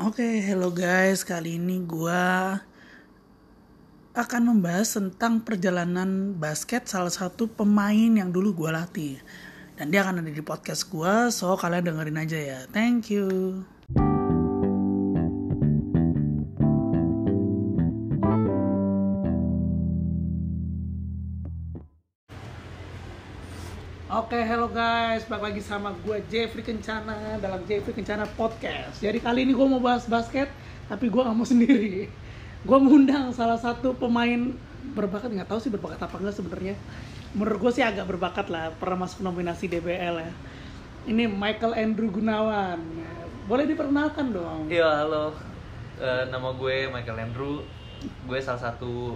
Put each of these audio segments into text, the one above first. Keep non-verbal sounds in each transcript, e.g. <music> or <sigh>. Oke, hello guys. Kali ini gua akan membahas tentang perjalanan basket salah satu pemain yang dulu gua latih. Dan dia akan ada di podcast gua, so kalian dengerin aja ya. Thank you. Oke, hello guys. Balik lagi sama gue Jeffrey Kencana dalam Jeffrey Kencana Podcast. Jadi kali ini gue mau bahas basket, tapi gue gak mau <laughs> sendiri. Gue mengundang salah satu pemain berbakat, nggak tahu sih berbakat apa enggak sebenarnya. Menurut gue sih agak berbakat lah, pernah masuk nominasi DBL ya. Ini Michael Andrew Gunawan. Boleh diperkenalkan dong. Iya, halo. Eh, nama gue Michael Andrew. Gue salah satu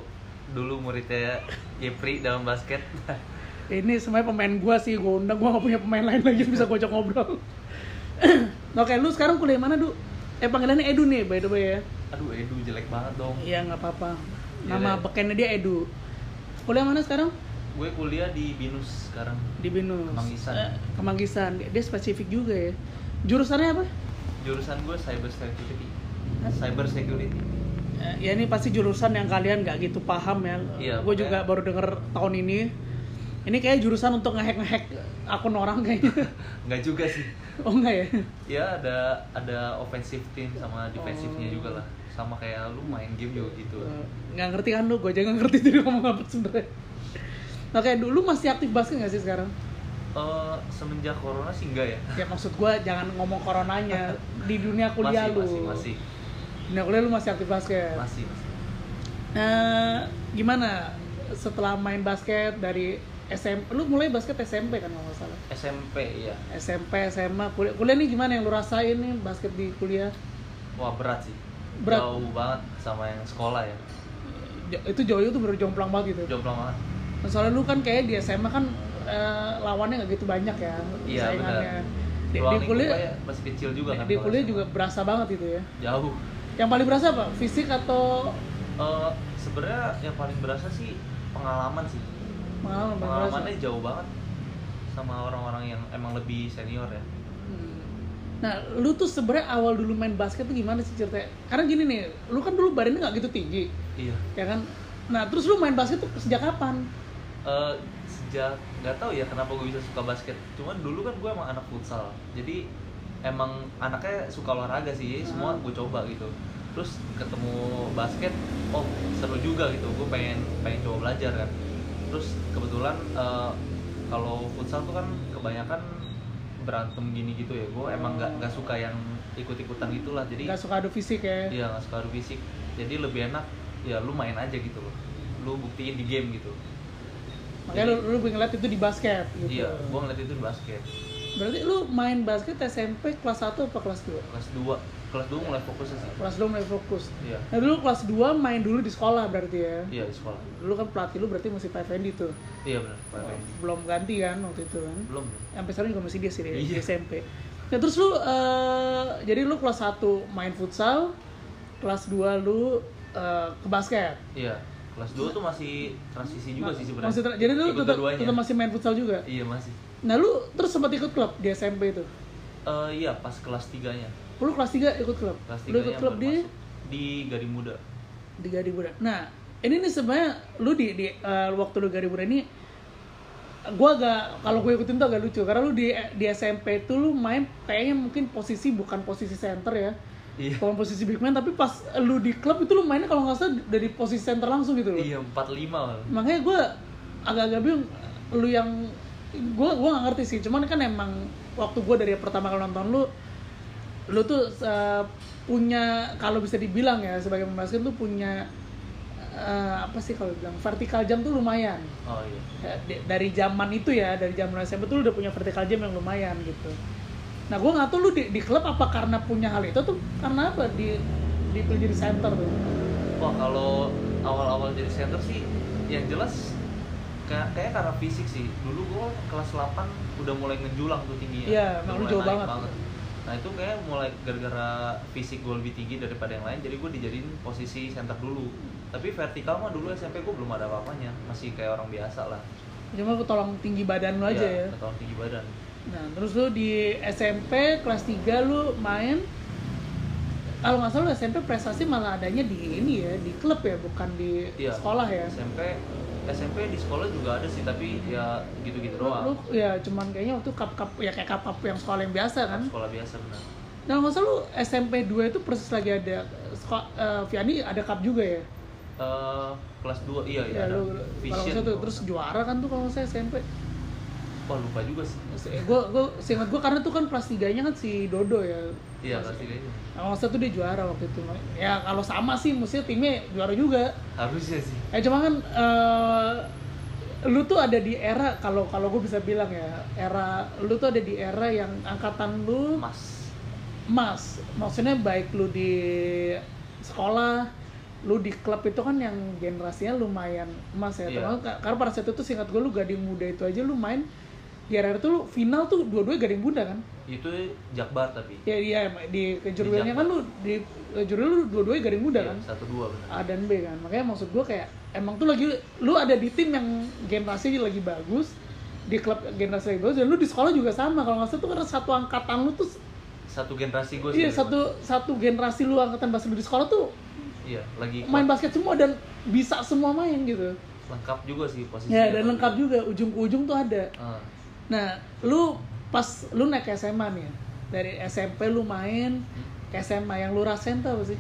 dulu muridnya Jeffrey dalam basket. <laughs> Ini semuanya pemain gue sih, gue undang. Gue gak punya pemain lain lagi <laughs> yang bisa gue ajak ngobrol. <clears throat> Oke, lu sekarang kuliah mana, Du? Eh, panggilannya Edu nih, by the way ya. Aduh, Edu jelek banget dong. Iya nggak apa-apa. Iya, Nama deh. bekennya dia Edu. Kuliah mana sekarang? Gue kuliah di Binus sekarang. Di Binus. Kemanggisan. Eh, Kemanggisan. Dia, dia spesifik juga ya. Jurusannya apa? Jurusan gue cyber security. Cyber security. Eh, Ya ini pasti jurusan yang kalian nggak gitu paham ya. Iya, Gue makanya. juga baru denger tahun ini. Ini kayak jurusan untuk ngehack ngehack Iya. akun orang <laughs> kayaknya. Nggak juga sih. Oh enggak ya? Ya ada ada offensive team sama defensifnya Oh. juga lah. Sama kayak lu main game juga gitu. Eh, Nggak ngerti kan lu? Gue aja nggak ngerti jadi ngomong apa sebenarnya. Oke, dulu masih aktif basket nggak sih sekarang? Eh, semenjak corona sih enggak ya. Ya maksud gue jangan ngomong coronanya di dunia kuliah Masih, lu. masih, masih, Dunia kuliah Nah, lu masih aktif basket. masih, masih. Nah, gimana setelah main basket dari SMP? Lu mulai basket SMP kan kalau nggak salah? SMP ya. SMP, SMA, kuliah. Kuliah nih gimana yang lu rasain nih basket di kuliah? Wah berat sih. Berat. Jauh banget sama yang sekolah ya. Jo- Itu Joyo tuh baru jomplang banget gitu. Jomplang banget. Nah, Soalnya lu kan kayak di SMA kan eh, lawannya nggak gitu banyak ya Iya, saingannya. benar. Di, Ruang ya, di lingkup kuliah, aja masih kecil juga kan. di kalau kuliah SMA. juga berasa banget gitu ya. jauh. Yang paling berasa apa? Fisik atau Eh, sebenarnya yang paling berasa sih pengalaman sih. pengalaman? paling berasa? Pengalamannya jauh banget sama orang-orang yang emang lebih senior ya. Hmm. Nah, lu tuh sebenarnya awal dulu main basket tuh gimana sih ceritanya? Karena gini nih, lu kan dulu badannya nggak gitu tinggi, Iya. ya kan? Nah, terus lu main basket tuh sejak kapan? Eh, sejak nggak tahu ya kenapa gue bisa suka basket. Cuman dulu kan gue emang anak futsal. Jadi emang anaknya suka olahraga sih. jadi Semua Ah. gue coba gitu. Terus ketemu basket, oh seru juga gitu. Gue pengen pengen coba belajar kan. Terus kebetulan eh, kalau futsal tuh kan kebanyakan berantem gini gitu ya. Gue emang nggak nggak suka yang ikut-ikutan gitulah. Jadi Gak suka adu fisik ya? Iya nggak suka adu fisik. Jadi lebih enak ya lu main aja gitu loh. Lu buktiin di game gitu. Makanya lu, lu ngeliat itu di basket gitu. Iya, gua ngeliat itu di basket. Berarti lu main basket SMP kelas 1 apa kelas 2? Kelas 2, kelas 2 mulai fokusnya sih. Kelas 2 mulai fokus. Iya. Nah, dulu kelas 2 main dulu di sekolah berarti ya? Iya di sekolah. Dulu kan pelatih lu berarti masih Pak Effendi tuh. Iya benar, Pak Effendi. Belum ganti kan waktu itu kan? Belum. sampai sekarang juga masih dia sih di- di Iya. SMP. Nah terus lu eh, jadi lu kelas 1 main futsal, kelas 2 lu eh, ke basket. Iya. Kelas 2 tuh masih transisi juga sih sebenarnya. Masih ter- jadi lu Ikut tetap, keduanya. tetap masih main futsal juga. Iya masih. Nah lu terus sempat ikut klub di SMP itu. Eh iya pas kelas 3-nya. Lu kelas 3 ikut klub. Kelas 3 Lu ikut klub di di Gading Muda. di Gadi Budak. Nah, ini nih sebenarnya lu di di eh, waktu lu Gadi Budak ini gua agak kalau gue ikutin tuh agak lucu karena lu di di SMP itu lu main kayaknya mungkin posisi bukan posisi center ya. Iya. Kalau posisi big man tapi pas lu di klub itu lu mainnya kalau nggak salah dari posisi center langsung gitu loh. Iya 45 malah. Makanya gue agak-agak bingung lu yang gue gua nggak ngerti sih. Cuman kan emang waktu gue dari pertama kali nonton lu lu tuh uh, punya kalau bisa dibilang ya sebagai pemain basket lu punya uh, apa sih kalau bilang vertikal jam tuh lumayan. Oh iya. Ya, d- dari zaman itu ya dari zaman SMP tuh lu udah punya vertikal jam yang lumayan gitu nah gue nggak tahu lu di, di klub apa karena punya hal itu tuh karena apa di dipilih jadi center tuh Wah kalau awal-awal jadi center sih yang jelas kayak kayak karena fisik sih. Dulu gua kelas 8 udah mulai ngejulang tuh tingginya. Iya, Udah emang lu mulai jauh naik banget. Nah itu kayak mulai gara-gara fisik gua lebih tinggi daripada yang lain, jadi gua dijadiin posisi center dulu. Tapi vertikal mah dulu SMP gua belum ada apa-apanya, masih kayak orang biasa lah. cuma aku tolong tinggi badan lu aja ya ketahuan tinggi badan. nah terus lu di SMP kelas 3 lu main kalau nggak salah lu SMP prestasi malah adanya di ini ya di klub ya bukan di Iya. sekolah ya SMP SMP di sekolah juga ada sih tapi ya gitu-gitu lu doang ya cuman kayaknya waktu cup cup ya kayak cup cup yang sekolah yang biasa kan sekolah biasa benar dan nggak salah lu SMP 2 itu persis lagi ada sekolah eh, Viani ada cup juga ya Eh, kelas 2 iya ya iya ada lu kalau nggak salah tuh terus juara kan tuh kalau saya SMP wah lupa juga sih gue gue eh, seingat gue karena tuh kan kelas tiganya kan si Dodo ya iya kelas 3 aja kalau nggak salah tuh dia juara waktu itu ya kalau sama sih mestinya timnya juara juga harusnya sih Eh cuma kan eh, lu tuh ada di era kalau kalau gue bisa bilang ya era lu tuh ada di era yang angkatan lu emas emas maksudnya baik lu di sekolah lu di klub itu kan yang generasinya lumayan emas ya Iya. Terutama ka- karena pada saat itu singkat gue lu gading muda itu aja lu main di era itu lu final tuh dua-dua gading muda kan itu jakbar tapi ya iya em- di kejurwilnya kan lu di kejurwil lu dua-dua gading muda kan Iya, satu dua benar A dan B kan makanya maksud gue kayak emang tuh lagi lu ada di tim yang generasi lagi bagus di klub generasi lagi bagus dan lu di sekolah juga sama kalau nggak salah tuh karena satu angkatan lu tuh satu generasi gue iya satu satu generasi lu angkatan basket lu di sekolah tuh iya lagi main basket semua dan bisa semua main gitu lengkap juga sih posisinya ya dan lengkap juga ujung ke ujung tuh ada Ah, nah lu pas lu naik ke SMA nih ya, dari SMP lu main ke SMA yang lu rasain tuh apa sih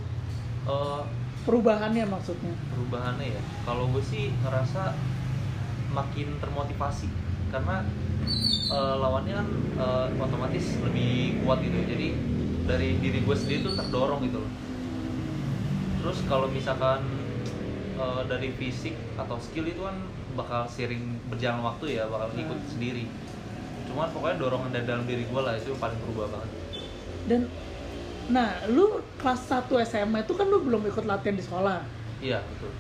eh, perubahannya maksudnya perubahannya ya kalau gue sih ngerasa makin termotivasi karena eh, lawannya kan eh, otomatis lebih kuat gitu jadi dari diri gue sendiri tuh terdorong gitu loh terus kalau misalkan eh, dari fisik atau skill itu kan bakal sering berjalan waktu ya bakal ikut Hmm. sendiri cuman pokoknya dorongan dari dalam diri gue lah itu yang paling berubah banget Dan nah, lu kelas 1 SMA itu kan lu belum ikut latihan di sekolah. iya betul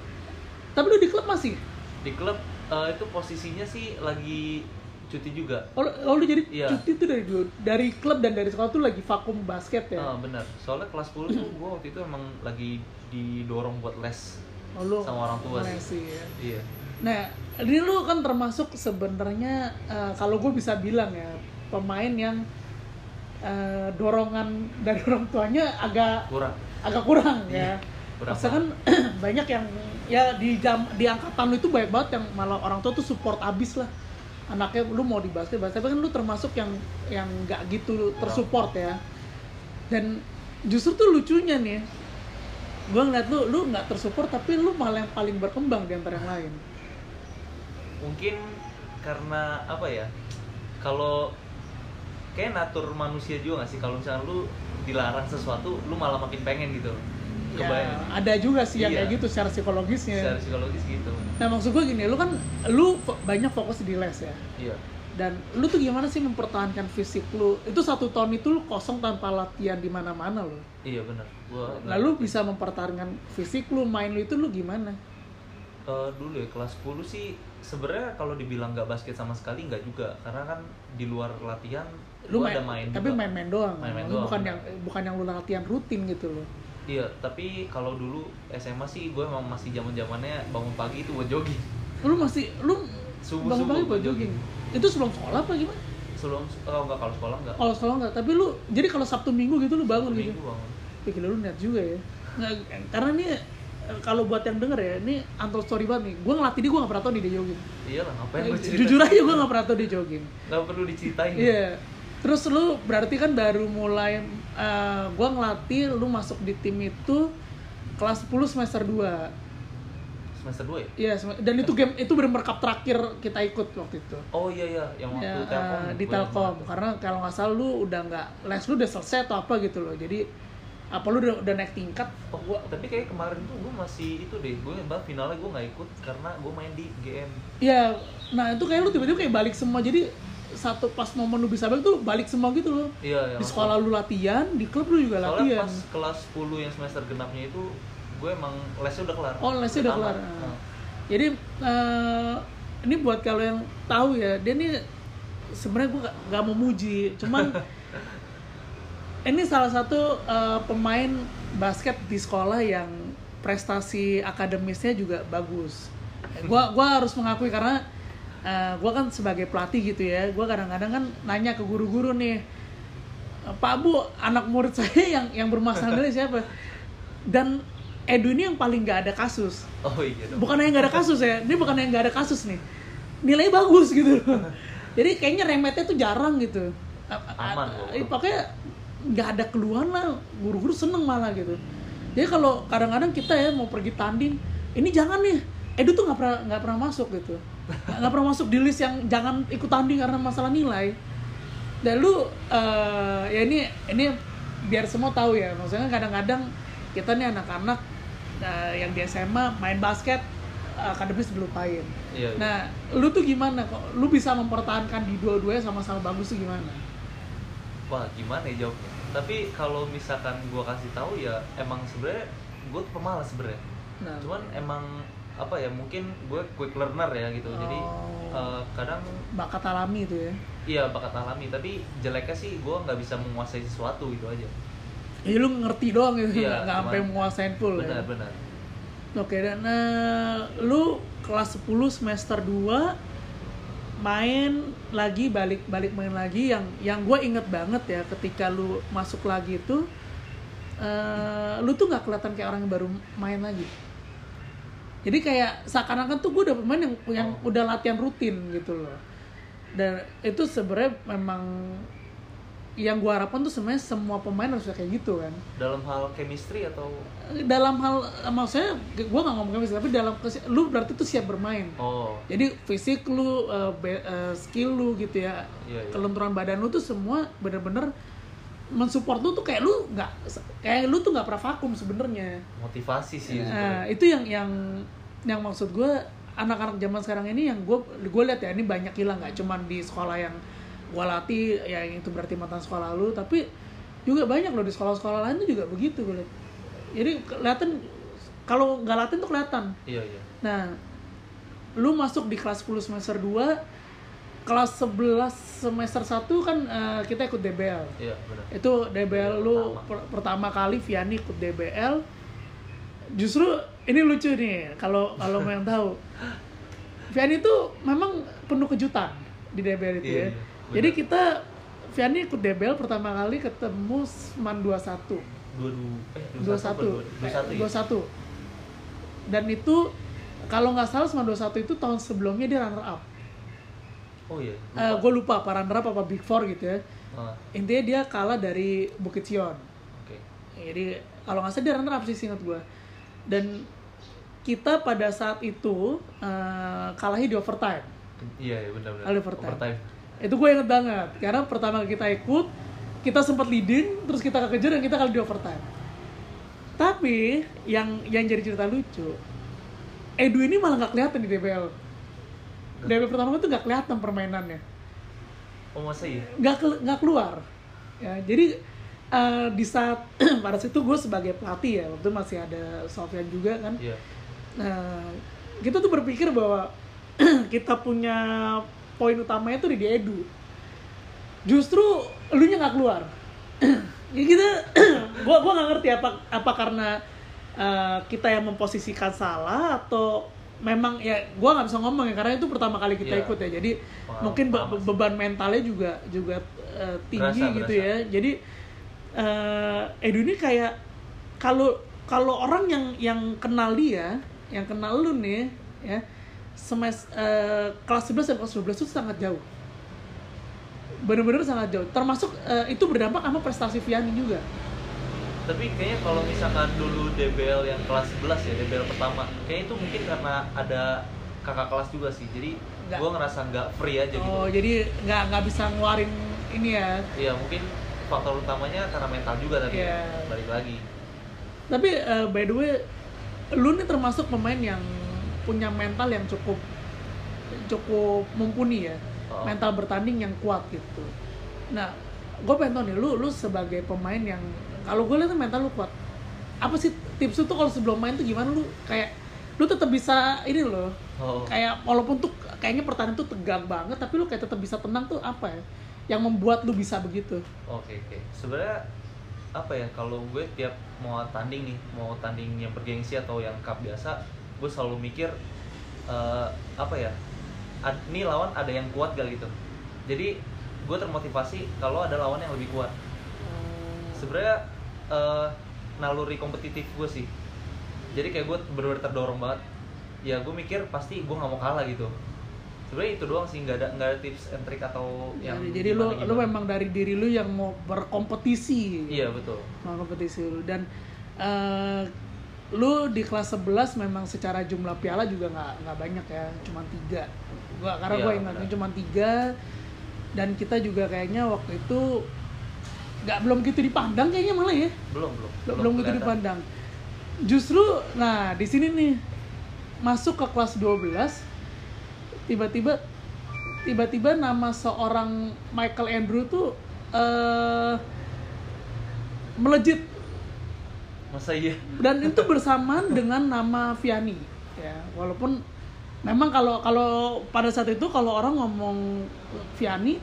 Tapi lu di klub masih. di klub eh, itu posisinya sih lagi cuti juga Oh, lu, oh, lu jadi Iya. cuti tuh dari dua- dari klub dan dari sekolah tuh lagi vakum basket ya. Ah, benar. Soalnya kelas 10 tuh gue waktu itu emang lagi didorong buat les. Oh, lu sama orang tua Messi sih. ya. Iya. Nah, ini lu kan termasuk sebenarnya eh, kalau gue bisa bilang ya pemain yang eh, dorongan dari <laughs> orang tuanya agak Kurang. agak kurang ya. Iya, kurang Maksudnya kan <clears throat> banyak yang ya di jam di angkatan lu itu banyak banget yang malah orang tua tuh support abis lah anaknya lu mau di basket basket tapi kan lu termasuk yang yang nggak gitu tersupport ya dan justru tuh lucunya nih gue ngeliat lu lu nggak tersupport tapi lu malah yang paling berkembang di antara yang lain Mungkin karena apa ya? Kalau kayak natur manusia juga gak sih kalau misalnya lu dilarang sesuatu, lu malah makin pengen gitu. ya, Kebayang. ada juga sih yang Iya. kayak gitu secara psikologisnya Secara psikologis gitu. nah maksud gue gini lu kan lu fo- banyak fokus di les ya Iya. dan lu tuh gimana sih mempertahankan fisik lu itu satu tahun itu lu kosong tanpa latihan di mana mana lu Iya benar. Gua lalu bisa mempertahankan fisik lu main lu itu lu gimana Eh, dulu ya kelas 10 sih sebenarnya kalau dibilang nggak basket sama sekali nggak juga karena kan di luar latihan lu gua ada main tapi juga. main-main doang Main-main Lu doang. bukan yang bukan yang lu latihan rutin gitu loh Iya, tapi kalau dulu SMA sih gue emang masih zaman zamannya bangun pagi itu buat jogging. lu masih lu Subuh-subuh bangun-bangun buat gua jogging. jogging itu sebelum sekolah apa gimana Sebelum oh enggak kalau sekolah enggak. kalau sekolah nggak tapi lu jadi kalau sabtu minggu gitu lu bangun gitu Minggu bangun. Pikir lu niat juga ya Nggak- karena ini eh, kalau buat yang denger ya ini antar story banget nih gue ngelatih dia gue nggak pernah tau nih dia jogging Iya lah, ngapain gue cerita? jujur aja gue nggak pernah tau dia jogging Nggak perlu diceritain. ya. Iya. Terus lu berarti kan baru mulai eh, gua ngelatih lu masuk di tim itu kelas 10 semester 2. Semester 2 ya? Iya, sem- dan itu game itu benar cup terakhir kita ikut waktu itu. Oh iya iya, yang waktu Ya, Telkom. eh, di gua yang Telkom bangun. karena kalau nggak salah lu udah nggak les lu udah selesai atau apa gitu loh. Jadi apa lu udah, udah naik tingkat? Oh, gua, tapi kayak kemarin tuh gue masih itu deh, gue banget finalnya gue nggak ikut karena gue main di GM. Iya. Nah, itu kayak lu tiba-tiba kayak balik semua. Jadi satu pas momen lu bisa balik tuh balik semua gitu loh. Iya, iya. Di sekolah lu latihan, di klub lu juga Soalnya latihan. pas kelas 10 yang semester genapnya itu gue emang lesnya udah kelar. Oh, lesnya udah tamat. kelar. Nah, Jadi eh, ini buat kalau yang tahu ya, dia ini sebenarnya gue nggak mau muji, cuman <laughs> ini salah satu eh, pemain basket di sekolah yang prestasi akademisnya juga bagus. Gua gua harus mengakui karena eh, gua kan sebagai pelatih gitu ya, gua kadang-kadang kan nanya ke guru-guru nih, Pak Bu, anak murid <laughs> saya yang yang bermasalah ini siapa? Dan Edu ini yang paling nggak ada kasus. oh iya dong Bukan yang nggak ada kasus ya, ini bukan yang nggak ada kasus nih. Nilai bagus gitu. loh. Jadi kayaknya remetnya tuh jarang gitu. Aman, Eh, Iya, Bu. Pokoknya nggak ada keluhan lah, guru-guru seneng malah gitu. Jadi kalau kadang-kadang kita ya mau pergi tanding, ini jangan nih. Edu tuh nggak pernah nggak pernah masuk gitu, Nggak- nggak pernah masuk di list yang jangan ikut tanding karena masalah nilai dan lu eh, ya ini ini biar semua tahu ya maksudnya kadang-kadang kita nih anak-anak eh, yang di SMA main basket eh, akademis dilupain iya iya. nah lu tuh gimana kok lu bisa mempertahankan di dua-duanya sama-sama bagus tuh gimana wah gimana ya jawabnya tapi kalau misalkan gua kasih tahu ya emang sebenarnya gua tuh pemalas sebenarnya nah cuman emang apa ya mungkin gue quick learner ya gitu jadi Oh. eh, kadang bakat alami itu ya iya bakat alami tapi jeleknya sih gue nggak bisa menguasai sesuatu gitu aja ya lu ngerti doang gitu Iya, nggak sampai cuman- menguasain full ya. benar-benar Oke, dan eh, lu kelas 10 semester 2 main lagi balik-balik main lagi yang yang gue inget banget ya ketika lu masuk lagi itu eh, lu tuh nggak kelihatan kayak orang yang baru main lagi. Jadi kayak seakan-akan tuh gue udah pemain yang yang udah latihan rutin gitu loh. Dan itu sebenarnya memang yang gue harapkan tuh sebenarnya semua pemain harus kayak gitu kan dalam hal chemistry atau dalam hal maksudnya gue nggak ngomong kemis tapi dalam kesi- lu berarti tuh siap bermain oh jadi fisik lu eh, be- eh, skill lu gitu ya Iya, iya. kelenturan badan lu tuh semua bener-bener mensupport lu tuh kayak lu nggak kayak lu tuh nggak pernah vakum sebenarnya motivasi sih Nah, sebenarnya. itu yang yang yang maksud gue anak-anak zaman sekarang ini yang gue gue lihat ya ini banyak hilang nggak cuman di sekolah yang gue latih ya yang itu berarti mantan sekolah lu tapi juga banyak loh di sekolah-sekolah lain tuh juga begitu gue liat. jadi kelihatan kalau nggak latin tuh kelihatan iya iya nah lu masuk di kelas 10 semester 2 kelas 11 semester 1 kan eh, kita ikut DBL iya benar itu DBL lu per- pertama kali Viani ikut DBL justru ini lucu nih kalau kalau mau yang tahu Viani itu memang penuh kejutan di DBL itu ya Iya, iya, benar. jadi kita Viani ikut DBL pertama kali ketemu Sman 21 dua dua eh dua satu 21 dua satu Eh, 21 ya? dan itu kalau nggak salah Sman 21 itu tahun sebelumnya dia runner up oh iya gue lupa apa runner up apa big four gitu ya Ah, intinya dia kalah dari Bukit Sion oke Iya, jadi kalau nggak salah dia runner up sih seingat gue dan kita pada saat itu eh, kalahnya di overtime iya iya benar-benar Lalu overtime. itu gue inget banget karena pertama kali kita ikut kita sempat leading terus kita kekejar dan kita kalah di overtime tapi yang yang jadi cerita lucu Edu ini malah nggak kelihatan di DBL DBL pertama itu nggak kelihatan permainannya oh masa iya nggak kel- nggak keluar ya jadi eh, di saat <clears throat> pada situ gue sebagai pelatih ya waktu masih ada Sofyan juga kan iya Nah, kita tuh berpikir bahwa <clears throat> kita punya poin utamanya tuh di di Edu. Justru elunya nggak keluar. <clears throat> ya kita, <clears throat> gua gua nggak ngerti apa apa karena eh, kita yang memposisikan salah atau memang ya gua nggak bisa ngomong ya karena itu pertama kali kita Iya. ikut ya. Jadi Paham, mungkin be- paham. beban mentalnya juga juga eh, tinggi Berasa, gitu berasa. ya. Jadi eh Edu ini kayak kalau kalau orang yang yang kenal dia, yang kenal lu nih, ya semes eh, kelas 11 dan kelas 12 itu sangat jauh. Bener-bener sangat jauh. Termasuk eh, itu berdampak sama prestasi Viani juga. tapi kayaknya kalau misalkan dulu DBL yang kelas 11 ya DBL pertama kayaknya itu mungkin karena ada kakak kelas juga sih jadi Nggak. gue ngerasa nggak free aja gitu Oh, jadi nggak nggak bisa ngeluarin ini ya. iya mungkin faktor utamanya karena mental juga tadi Iya. ya. balik lagi Tapi eh, by the way, lu nih termasuk pemain yang punya mental yang cukup cukup mumpuni ya, Oh. mental bertanding yang kuat gitu. Nah, gue pengen tau nih, lu lu sebagai pemain yang kalau gue lihat tuh mental lu kuat. Apa sih tips lu tuh kalau sebelum main tuh gimana lu kayak lu tetap bisa ini loh oh kayak walaupun tuh kayaknya pertandingan tuh tegang banget tapi lu kayak tetap bisa tenang tuh apa ya yang membuat lu bisa begitu oke oke sebenarnya apa ya kalau gue tiap mau tanding nih mau tanding yang bergengsi atau yang cup biasa gue selalu mikir eh, apa ya ad, ini lawan ada yang kuat gak gitu jadi gue termotivasi kalau ada lawan yang lebih kuat sebenarnya eh, naluri kompetitif gue sih jadi kayak gue bener-bener terdorong banget ya gue mikir pasti gue nggak mau kalah gitu sebenarnya itu doang sih nggak ada nggak ada tips and trick atau yang Iya, Jadi- jadi lu gimana-gimana. lu memang dari diri lu yang mau berkompetisi. iya betul Mau kompetisi lu dan eh, lu di kelas 11 memang secara jumlah piala juga nggak nggak banyak ya, cuma tiga. Gua karena Iya, gua ingatnya benar. cuma tiga dan kita juga kayaknya waktu itu nggak belum gitu dipandang kayaknya malah ya. belum belum belum, belum gitu kelihatan. dipandang. Justru nah di sini nih masuk ke kelas 12 tiba-tiba tiba-tiba nama seorang Michael Andrew tuh eh melejit masa iya dan itu bersamaan dengan nama Viani ya walaupun memang kalau kalau pada saat itu kalau orang ngomong Viani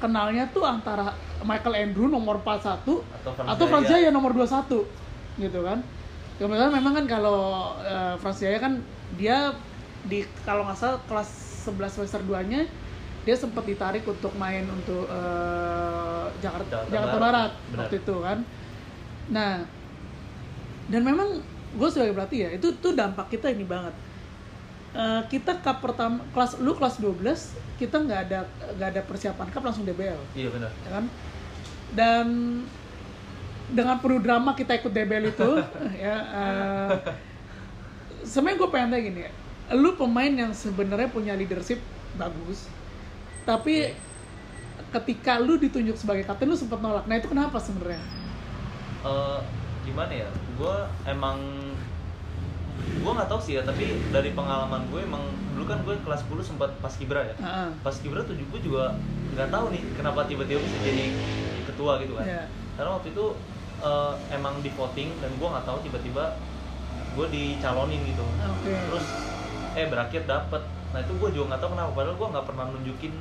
kenalnya tuh antara Michael Andrew nomor 41 atau Franz atau Franz Jaya nomor 21 gitu kan kemudian memang kan kalau eh, Franz Jaya kan dia di kalau nggak salah kelas 11 semester 2 nya dia sempat ditarik untuk main untuk eh, Jakarta Jakarta Jakarta Barat. Barat Benar. waktu itu kan nah dan memang gue sebagai pelatih ya itu tuh dampak kita ini banget Eh, kita cup pertama kelas lu kelas 12 kita nggak ada nggak ada persiapan cup langsung DBL iya benar ya kan? Dan dengan penuh drama kita ikut debel itu, <laughs> ya. eh, sebenarnya gue pengen tanya gini, ya, lu pemain yang sebenarnya punya leadership bagus, tapi ketika lu ditunjuk sebagai kapten lu sempat nolak. Nah itu kenapa sebenarnya? Eh, gimana ya gue emang gue nggak tahu sih ya tapi dari pengalaman gue emang dulu kan gue kelas 10 sempat pas kibra ya Heeh. pas kibra tuh gue juga nggak tahu nih kenapa tiba-tiba bisa jadi ketua gitu kan Iya. karena waktu itu eh, emang di voting dan gue nggak tahu tiba-tiba gue dicalonin gitu Oke. terus eh berakhir dapet nah itu gue juga nggak tahu kenapa padahal gue nggak pernah nunjukin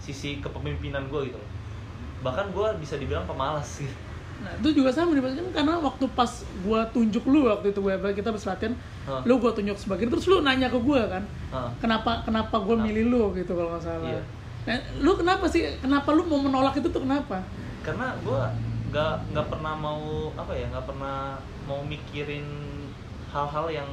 sisi kepemimpinan gue gitu loh. bahkan gue bisa dibilang pemalas gitu Nah, itu juga sama dibandingkan karena waktu pas gua tunjuk lu waktu itu gua kita berselatihan, Hah. lu gua tunjuk sebagai terus lu nanya ke gua kan, Hah. kenapa kenapa gue Kenapa? milih lu gitu kalau nggak salah. Iya. Nah, lu kenapa sih? Kenapa lu mau menolak itu tuh kenapa? karena gue nggak nggak pernah mau apa ya nggak pernah mau mikirin hal-hal yang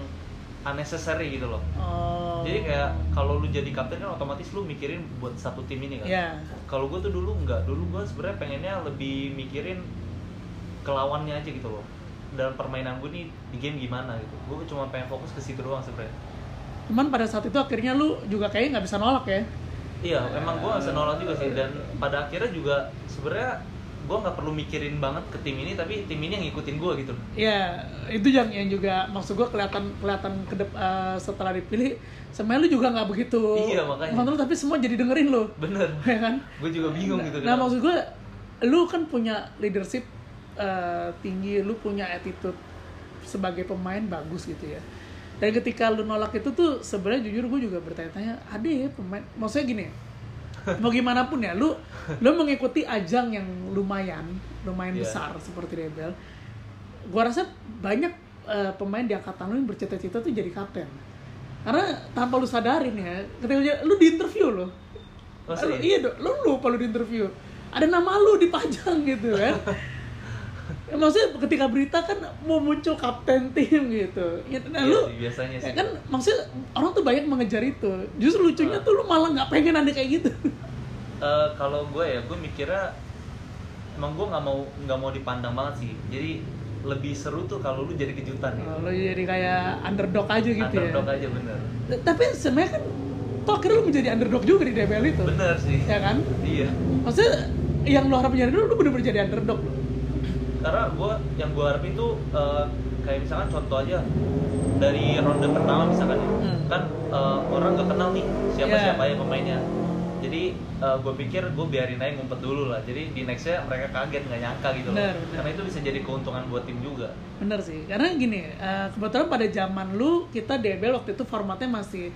unnecessary gitu loh Oh. jadi kayak kalau lu jadi kapten kan otomatis lu mikirin buat satu tim ini kan Ya. kalau gue tuh dulu nggak dulu gue sebenarnya pengennya lebih mikirin kelawannya aja gitu loh dalam permainan gue nih di game gimana gitu gue cuma pengen fokus ke situ doang sebenarnya Cuman pada saat itu akhirnya lu juga kayaknya nggak bisa nolak ya. iya emang gue bisa nolak juga sih dan pada akhirnya juga sebenarnya gue nggak perlu mikirin banget ke tim ini tapi tim ini yang ngikutin gue gitu loh. Ya, itu yang yang juga maksud gua kelihatan kelihatan kedep eh, setelah dipilih sebenarnya lu juga nggak begitu. Iya, makanya. nonton lu, tapi semua jadi dengerin lu. <laughs> bener Ya kan? gue juga bingung gitu Nah, kenapa. maksud gue, lu kan punya leadership eh, tinggi, lu punya attitude sebagai pemain bagus gitu ya. Dan ketika lu nolak itu tuh sebenarnya jujur gue juga bertanya-tanya, ada ya pemain, maksudnya gini, mau gimana pun ya, lu lu mengikuti ajang yang lumayan, lumayan Iya. besar seperti Rebel. Gue rasa banyak eh, pemain di angkatan lu yang bercita-cita tuh jadi kapten. Karena tanpa lu sadarin ya, ketika lu di interview loh, Masa Lu- iya? iya dok, lu lupa lu di interview. Ada nama lu dipajang gitu <laughs> kan. Ya, maksudnya ketika berita kan mau muncul kapten tim gitu. Ya, nah Iya lu sih, biasanya ya sih kan maksudnya orang tuh banyak mengejar itu. Justru Ah. lucunya tuh lu malah nggak pengen ada kayak gitu. Eh, kalau gue ya gue mikirnya emang gue nggak mau nggak mau dipandang banget sih jadi lebih seru tuh kalau lu jadi kejutan gitu. Oh, Lu jadi kayak underdog aja gitu underdog ya. aja bener T- Tapi sebenarnya kan toh akhirnya lu menjadi underdog juga di DBL itu. bener sih Ya kan? iya Maksudnya yang lu harap jadi dulu lu bener-bener jadi underdog lu. karena gue yang gue harapin tuh eh, kayak misalkan contoh aja dari ronde pertama misalkan ya, Hmm. kan eh, orang gak kenal nih siapa siapa Iya. ya pemainnya jadi gue pikir gue biarin aja ngumpet dulu lah jadi di nextnya mereka kaget nggak nyangka gitu loh Benar, benar. karena itu bisa jadi keuntungan buat tim juga Bener sih, karena gini, eh, kebetulan pada zaman lu kita debel waktu itu formatnya masih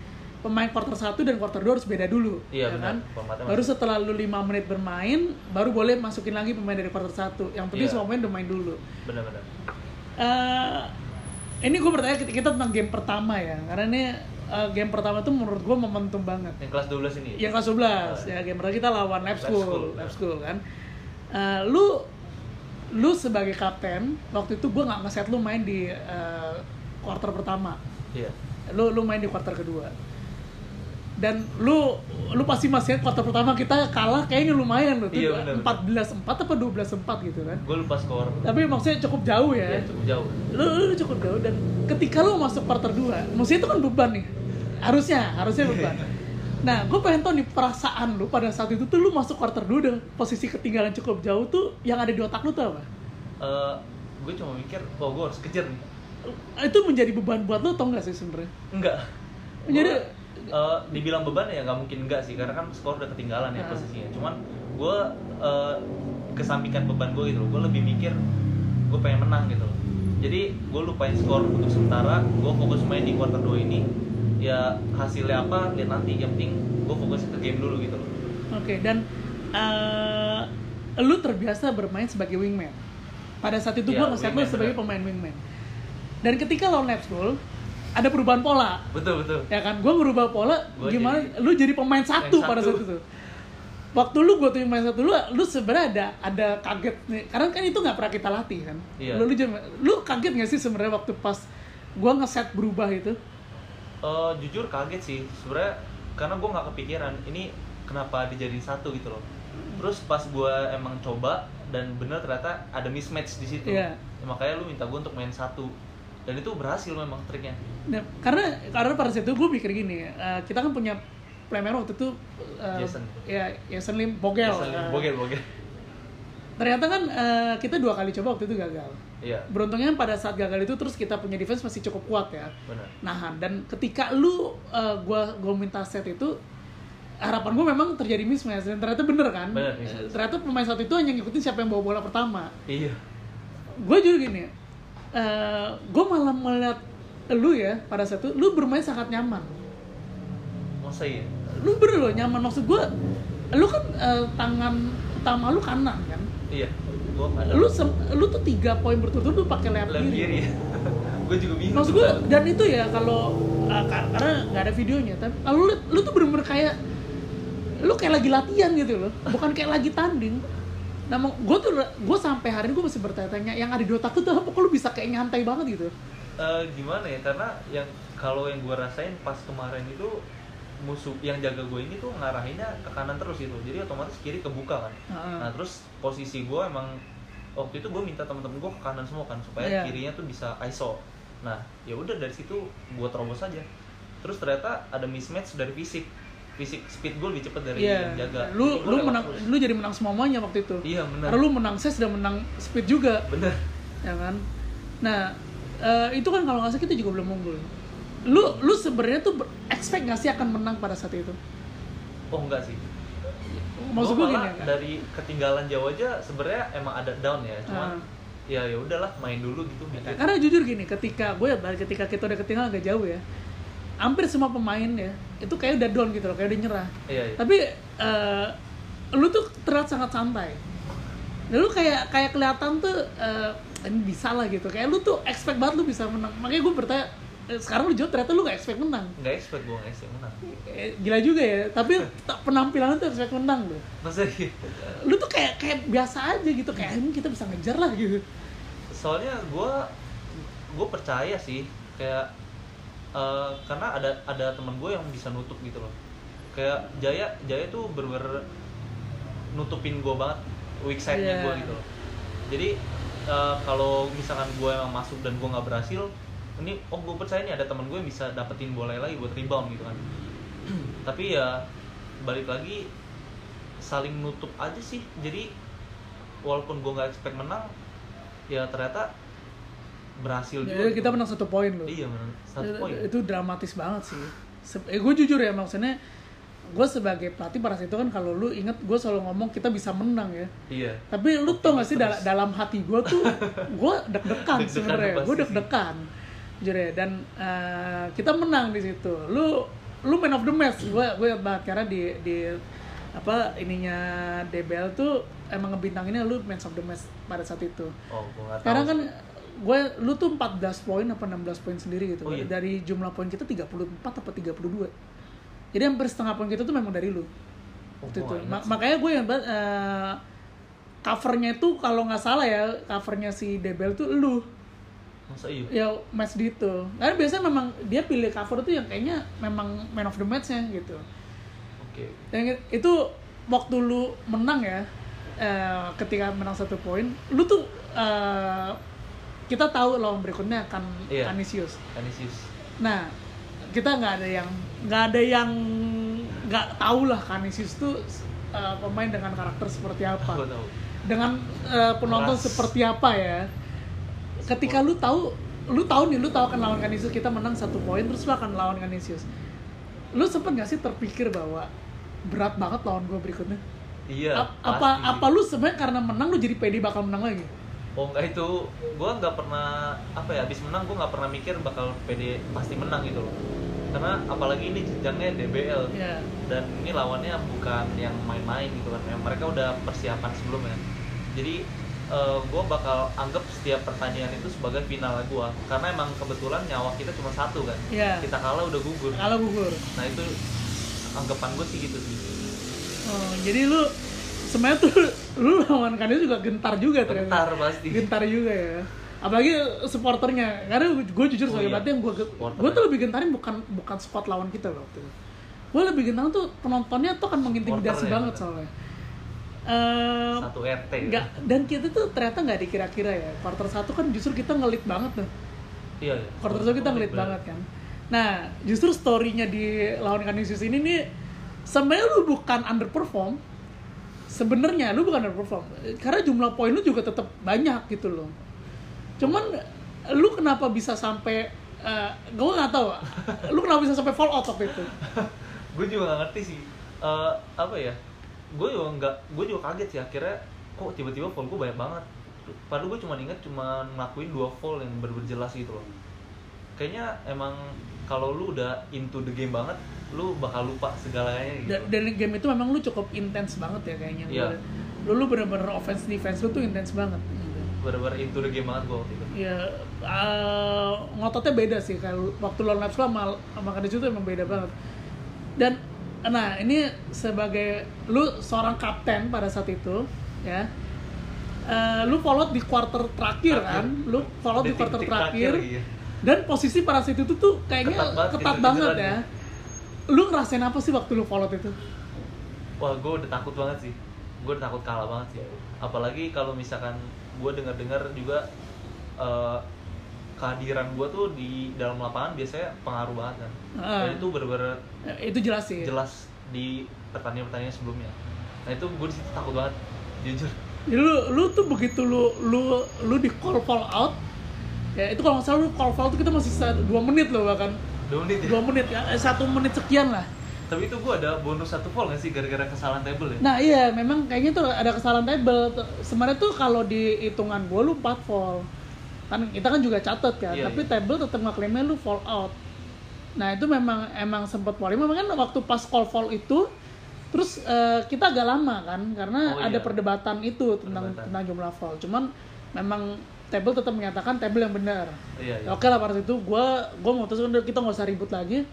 pemain quarter 1 dan quarter 2 harus beda dulu, iya ya benar kan? formatnya Baru setelah lu 5 menit bermain, baru boleh masukin lagi pemain dari quarter 1. Yang penting Iya. semua pemain udah main dulu. benar-benar Eh, ini gue bertanya ke kita tentang game pertama ya, karena ini eh, game pertama tuh menurut gue momentum banget. yang kelas 12 ini ya? Yang kelas 11, ya game pertama kita lawan Lab Lab School, School. Lab School kan. Eh, lu lu sebagai kapten waktu itu gue nggak ngeset lu main di eh, quarter pertama Iya. lu lu main di quarter kedua dan lu lu pasti masih ingat quarter pertama kita kalah kayaknya lumayan loh Iya, benar, benar. 14 4 apa 12 4 gitu kan Gue lupa skor. tapi maksudnya cukup jauh ya Iya, cukup jauh. lu, lu Eh, cukup jauh dan ketika lu masuk quarter 2 maksudnya itu kan beban nih harusnya harusnya Iya. beban nah gue pengen tau nih perasaan lu pada saat itu tuh lu masuk quarter 2 dan posisi ketinggalan cukup jauh tuh yang ada di otak lu tuh apa Eh, gue cuma mikir, oh gue harus kejar nih. itu menjadi beban buat lu atau enggak sih sebenarnya Enggak. Jadi- Gua, eh, dibilang beban ya nggak mungkin enggak sih karena kan skor udah ketinggalan ya Ah. posisinya. Cuman gue kesampingkan beban gue gitu loh. Gue lebih mikir gue pengen menang gitu loh. Jadi gue lupain skor untuk sementara. Gue fokus main di quarter 2 ini. Ya hasilnya apa lihat nanti. Yang penting gue fokus ke game dulu gitu loh. oke dan eh, lu terbiasa bermain sebagai wingman pada saat itu Iya, gue ngeset lu wingman, sebagai benar. pemain wingman dan ketika lo laps goal ada perubahan pola Betul betul. ya kan gue ngerubah pola Gua gimana jadi- lu jadi pemain satu pada Pemain satu. saat itu waktu lu gue tuh pemain satu lu lu sebenarnya ada ada kaget nih karena kan itu nggak pernah kita latih kan Iya. lu lu, jam- lu kaget nggak sih sebenarnya waktu pas gue ngeset berubah itu Eh, jujur kaget sih sebenarnya karena gue nggak kepikiran ini kenapa dijadiin satu gitu loh terus pas gue emang coba dan bener ternyata ada mismatch di situ Iya. Ya, makanya lu minta gue untuk main satu dan itu berhasil memang triknya Nah, karena karena pada saat itu gue mikir gini eh, kita kan punya playmaker waktu itu eh, Jason. ya Jason Lim Bogel, Biasa, Eh, bogel bogel ternyata kan eh, kita dua kali coba waktu itu gagal iya beruntungnya pada saat gagal itu terus kita punya defense masih cukup kuat ya bener nahan dan ketika lu eh, gua gua minta set itu harapan gua memang terjadi mismatch dan ternyata bener kan Bener, Eh, mismatch. ternyata pemain satu itu hanya ngikutin siapa yang bawa bola pertama iya gue juga gini eh gue malah melihat lu ya pada saat itu lu bermain sangat nyaman masa iya lu bener loh nyaman maksud gua lu kan eh, tangan utama lu kanan kan iya gue ada lu sem- lu tuh tiga poin berturut-turut lu pakai left left <laughs> kiri kiri gue juga bingung maksud gue dan itu ya kalau uh, kar- karena nggak ada videonya tapi kalau lu, lu tuh bener-bener kayak lu kayak lagi latihan gitu loh bukan kayak lagi tanding nah gue tuh gue sampai hari ini gue masih bertanya-tanya yang ada di otak lu tuh apa kok lu bisa kayak nyantai banget gitu Eh, gimana ya karena yang kalau yang gue rasain pas kemarin itu musuh yang jaga gue ini tuh ngarahinnya ke kanan terus gitu jadi otomatis kiri kebuka kan Heeh. nah terus posisi gue emang waktu itu gue minta temen-temen gue ke kanan semua kan supaya Iya. kirinya tuh bisa iso nah ya udah dari situ gue terobos aja terus ternyata ada mismatch dari fisik fisik speed gue lebih cepet dari Iya, yang jaga lu Jadi gua lu lewat menang, terus. lu jadi menang semuanya waktu itu. iya benar Karena lu menang ses dan menang speed juga, benar ya kan? Nah, eh, itu kan kalau nggak salah kita juga belum unggul. Lu lu sebenarnya tuh ber- expect nggak sih akan menang pada saat itu? oh enggak sih Maksud Gua gue gini Iya. Oh, malah kan? dari ketinggalan jauh aja sebenarnya emang ada down ya Ah. cuman ya ya udahlah main dulu gitu mikir Karena jujur gini, ketika gue ya balik ketika kita udah ketinggalan agak jauh ya, hampir semua pemain ya itu kayak udah down gitu loh, kayak udah nyerah. iya iya Tapi eh, lu tuh terlihat sangat santai. Dan lu kayak kayak kelihatan tuh eh, ini bisa lah gitu. Kayak lu tuh expect banget lu bisa menang. Makanya gue bertanya eh, sekarang lu jawab ternyata lu gak expect menang. nggak expect gue nggak expect menang Eh, gila juga ya. Tapi t- penampilan lu tuh expect menang lu. masa iya? Lu tuh kayak kayak biasa aja gitu. Kayak "Ini kita bisa ngejar lah gitu. soalnya gue gue percaya sih kayak eh, karena ada ada teman gue yang bisa nutup gitu loh kayak Jaya Jaya tuh berber nutupin gue banget weak Iya. side-nya gue gitu loh jadi eh, kalau misalkan gue emang masuk dan gue nggak berhasil ini oh gue percaya nih ada teman gue yang bisa dapetin bola lagi buat rebound gitu kan <clears throat> tapi ya balik lagi saling nutup aja sih jadi walaupun gue nggak expect menang ya ternyata berhasil Ya, juga kita menang satu poin lu. iya menang satu Itu- poin Eh, Itu dramatis banget sih. Se- eh, gue jujur ya maksudnya gue sebagai pelatih pada saat itu kan kalau lu inget gue selalu ngomong kita bisa menang ya. iya tapi lu tau gak sih dal- dalam hati gue <laughs> tuh gue deg-degan Deg-degan sebenarnya pasti gue sih. deg-degan jujur ya dan eh, kita menang di situ lu lu man of the match gue gue ingat banget karena di di apa ininya DBL tuh emang ngebintanginnya lu man of the match pada saat itu oh gue nggak tahu karena kan gue lu tuh 14 poin apa 16 poin sendiri gitu Oh, iya. dari jumlah poin kita 34 apa 32 jadi hampir setengah poin kita tuh memang dari lu Oh, waktu gua itu nggak ingat Ma- sih. makanya gue yang banget eh, covernya itu kalau nggak salah ya covernya si Debel tuh lu masa iya ya match gitu karena biasanya memang dia pilih cover tuh yang kayaknya memang man of the match-nya gitu oke dan itu waktu lu menang ya eh, ketika menang satu poin lu tuh eh, kita tahu lawan berikutnya akan Iya. Anisius Anisius nah kita nggak ada yang nggak ada yang nggak tahu lah Kanisius tuh eh, pemain dengan karakter seperti apa aku tahu dengan eh, penonton Keras. seperti apa ya ketika lu tahu lu tahu nih lu tahu akan lawan Canisius kita menang satu poin terus lu akan lawan Canisius lu sempet gak sih terpikir bahwa berat banget lawan gue berikutnya iya Ap- apa pasti. apa lu sebenarnya karena menang lu jadi pede bakal menang lagi oh enggak itu gue nggak pernah apa ya habis menang gue nggak pernah mikir bakal PD pasti menang gitu loh karena apalagi ini jenjangnya DBL ya dan ini lawannya bukan yang main-main gitu kan Yang mereka udah persiapan sebelumnya jadi gue bakal anggap setiap pertandingan itu sebagai final gue karena emang kebetulan nyawa kita cuma satu kan ya kita kalah udah gugur kalau gugur nah itu anggapan gue sih gitu sih oh, jadi lu sebenarnya tuh lu lawan Canisius juga gentar juga ternyata bentar pasti gentar juga ya apalagi supporternya karena gue jujur Oh, sebagai iya. pelatih yang gue Supporternya. gue tuh lebih gentarin bukan bukan squad lawan kita loh waktu itu gue lebih gentarin tuh penontonnya tuh akan mengintimidasi Supporternya, banget ya, bener. soalnya Eh, satu RT gitu. nggak dan kita tuh ternyata nggak dikira-kira ya quarter satu kan justru kita ngelit banget tuh iya iya. quarter satu kita ngelit Bener. banget kan nah justru story-nya di lawan Canisius ini nih sebenarnya lu bukan underperform sebenarnya lu bukan underperform karena jumlah poin lu juga tetap banyak gitu loh cuman lu kenapa bisa sampai eh gue nggak tahu lu kenapa bisa sampai fall out waktu itu <laughs> gue juga gak ngerti sih Eh, apa ya gue juga nggak gue juga kaget sih akhirnya kok tiba-tiba fall gue banyak banget padahal gue cuma inget cuma ngelakuin dua fall yang bener-bener jelas gitu loh kayaknya emang kalau lu udah into the game banget lu bakal lupa segalanya gitu Da- dan game itu memang lu cukup intens banget ya kayaknya Iya. lu lu bener-bener offense defense lu tuh intens banget gitu. bener-bener into the game banget gue waktu itu ya eh, ngototnya beda sih kalau waktu lawan Leipzig sama sama Kadis itu emang beda banget dan nah ini sebagai lu seorang kapten pada saat itu ya Eh, lu follow di quarter terakhir kan lu follow di quarter Detik-detik terakhir lagi ya. dan posisi pada saat itu tuh kayaknya Ketat banget ketat gitu, banget ya jenderannya. lu ngerasain apa sih waktu lu follow itu wah gue udah takut banget sih gue udah takut kalah banget sih apalagi kalau misalkan gue dengar dengar juga eh, kehadiran gue tuh di dalam lapangan biasanya pengaruh banget kan Heeh. Dan itu bener-bener Eh, itu jelas sih jelas di pertandingan pertandingan sebelumnya nah itu gue disitu takut banget jujur Jadi lu, lu tuh begitu lu lu lu di call fall out ya itu kalau nggak salah lu call fall out tuh kita masih sisa dua menit loh bahkan dua menit ya dua menit ya eh, satu menit sekian lah tapi itu gue ada bonus satu poin gak sih gara-gara kesalahan table ya nah iya memang kayaknya tuh ada kesalahan table Tuh, sebenarnya tuh kalau di hitungan gua lu 4 fall kan kita kan juga catat kan Iya, tapi table tetap ngeklaimnya lu fall out nah itu memang emang sempat fall memang kan waktu pas call fall itu terus eh, kita agak lama kan karena Oh, ada iya. perdebatan itu tentang Perdebatan. tentang jumlah fall cuman memang table tetap menyatakan table yang benar iya iya Oke lah pada saat itu gue gue mutusin kan, udah kita nggak usah ribut lagi.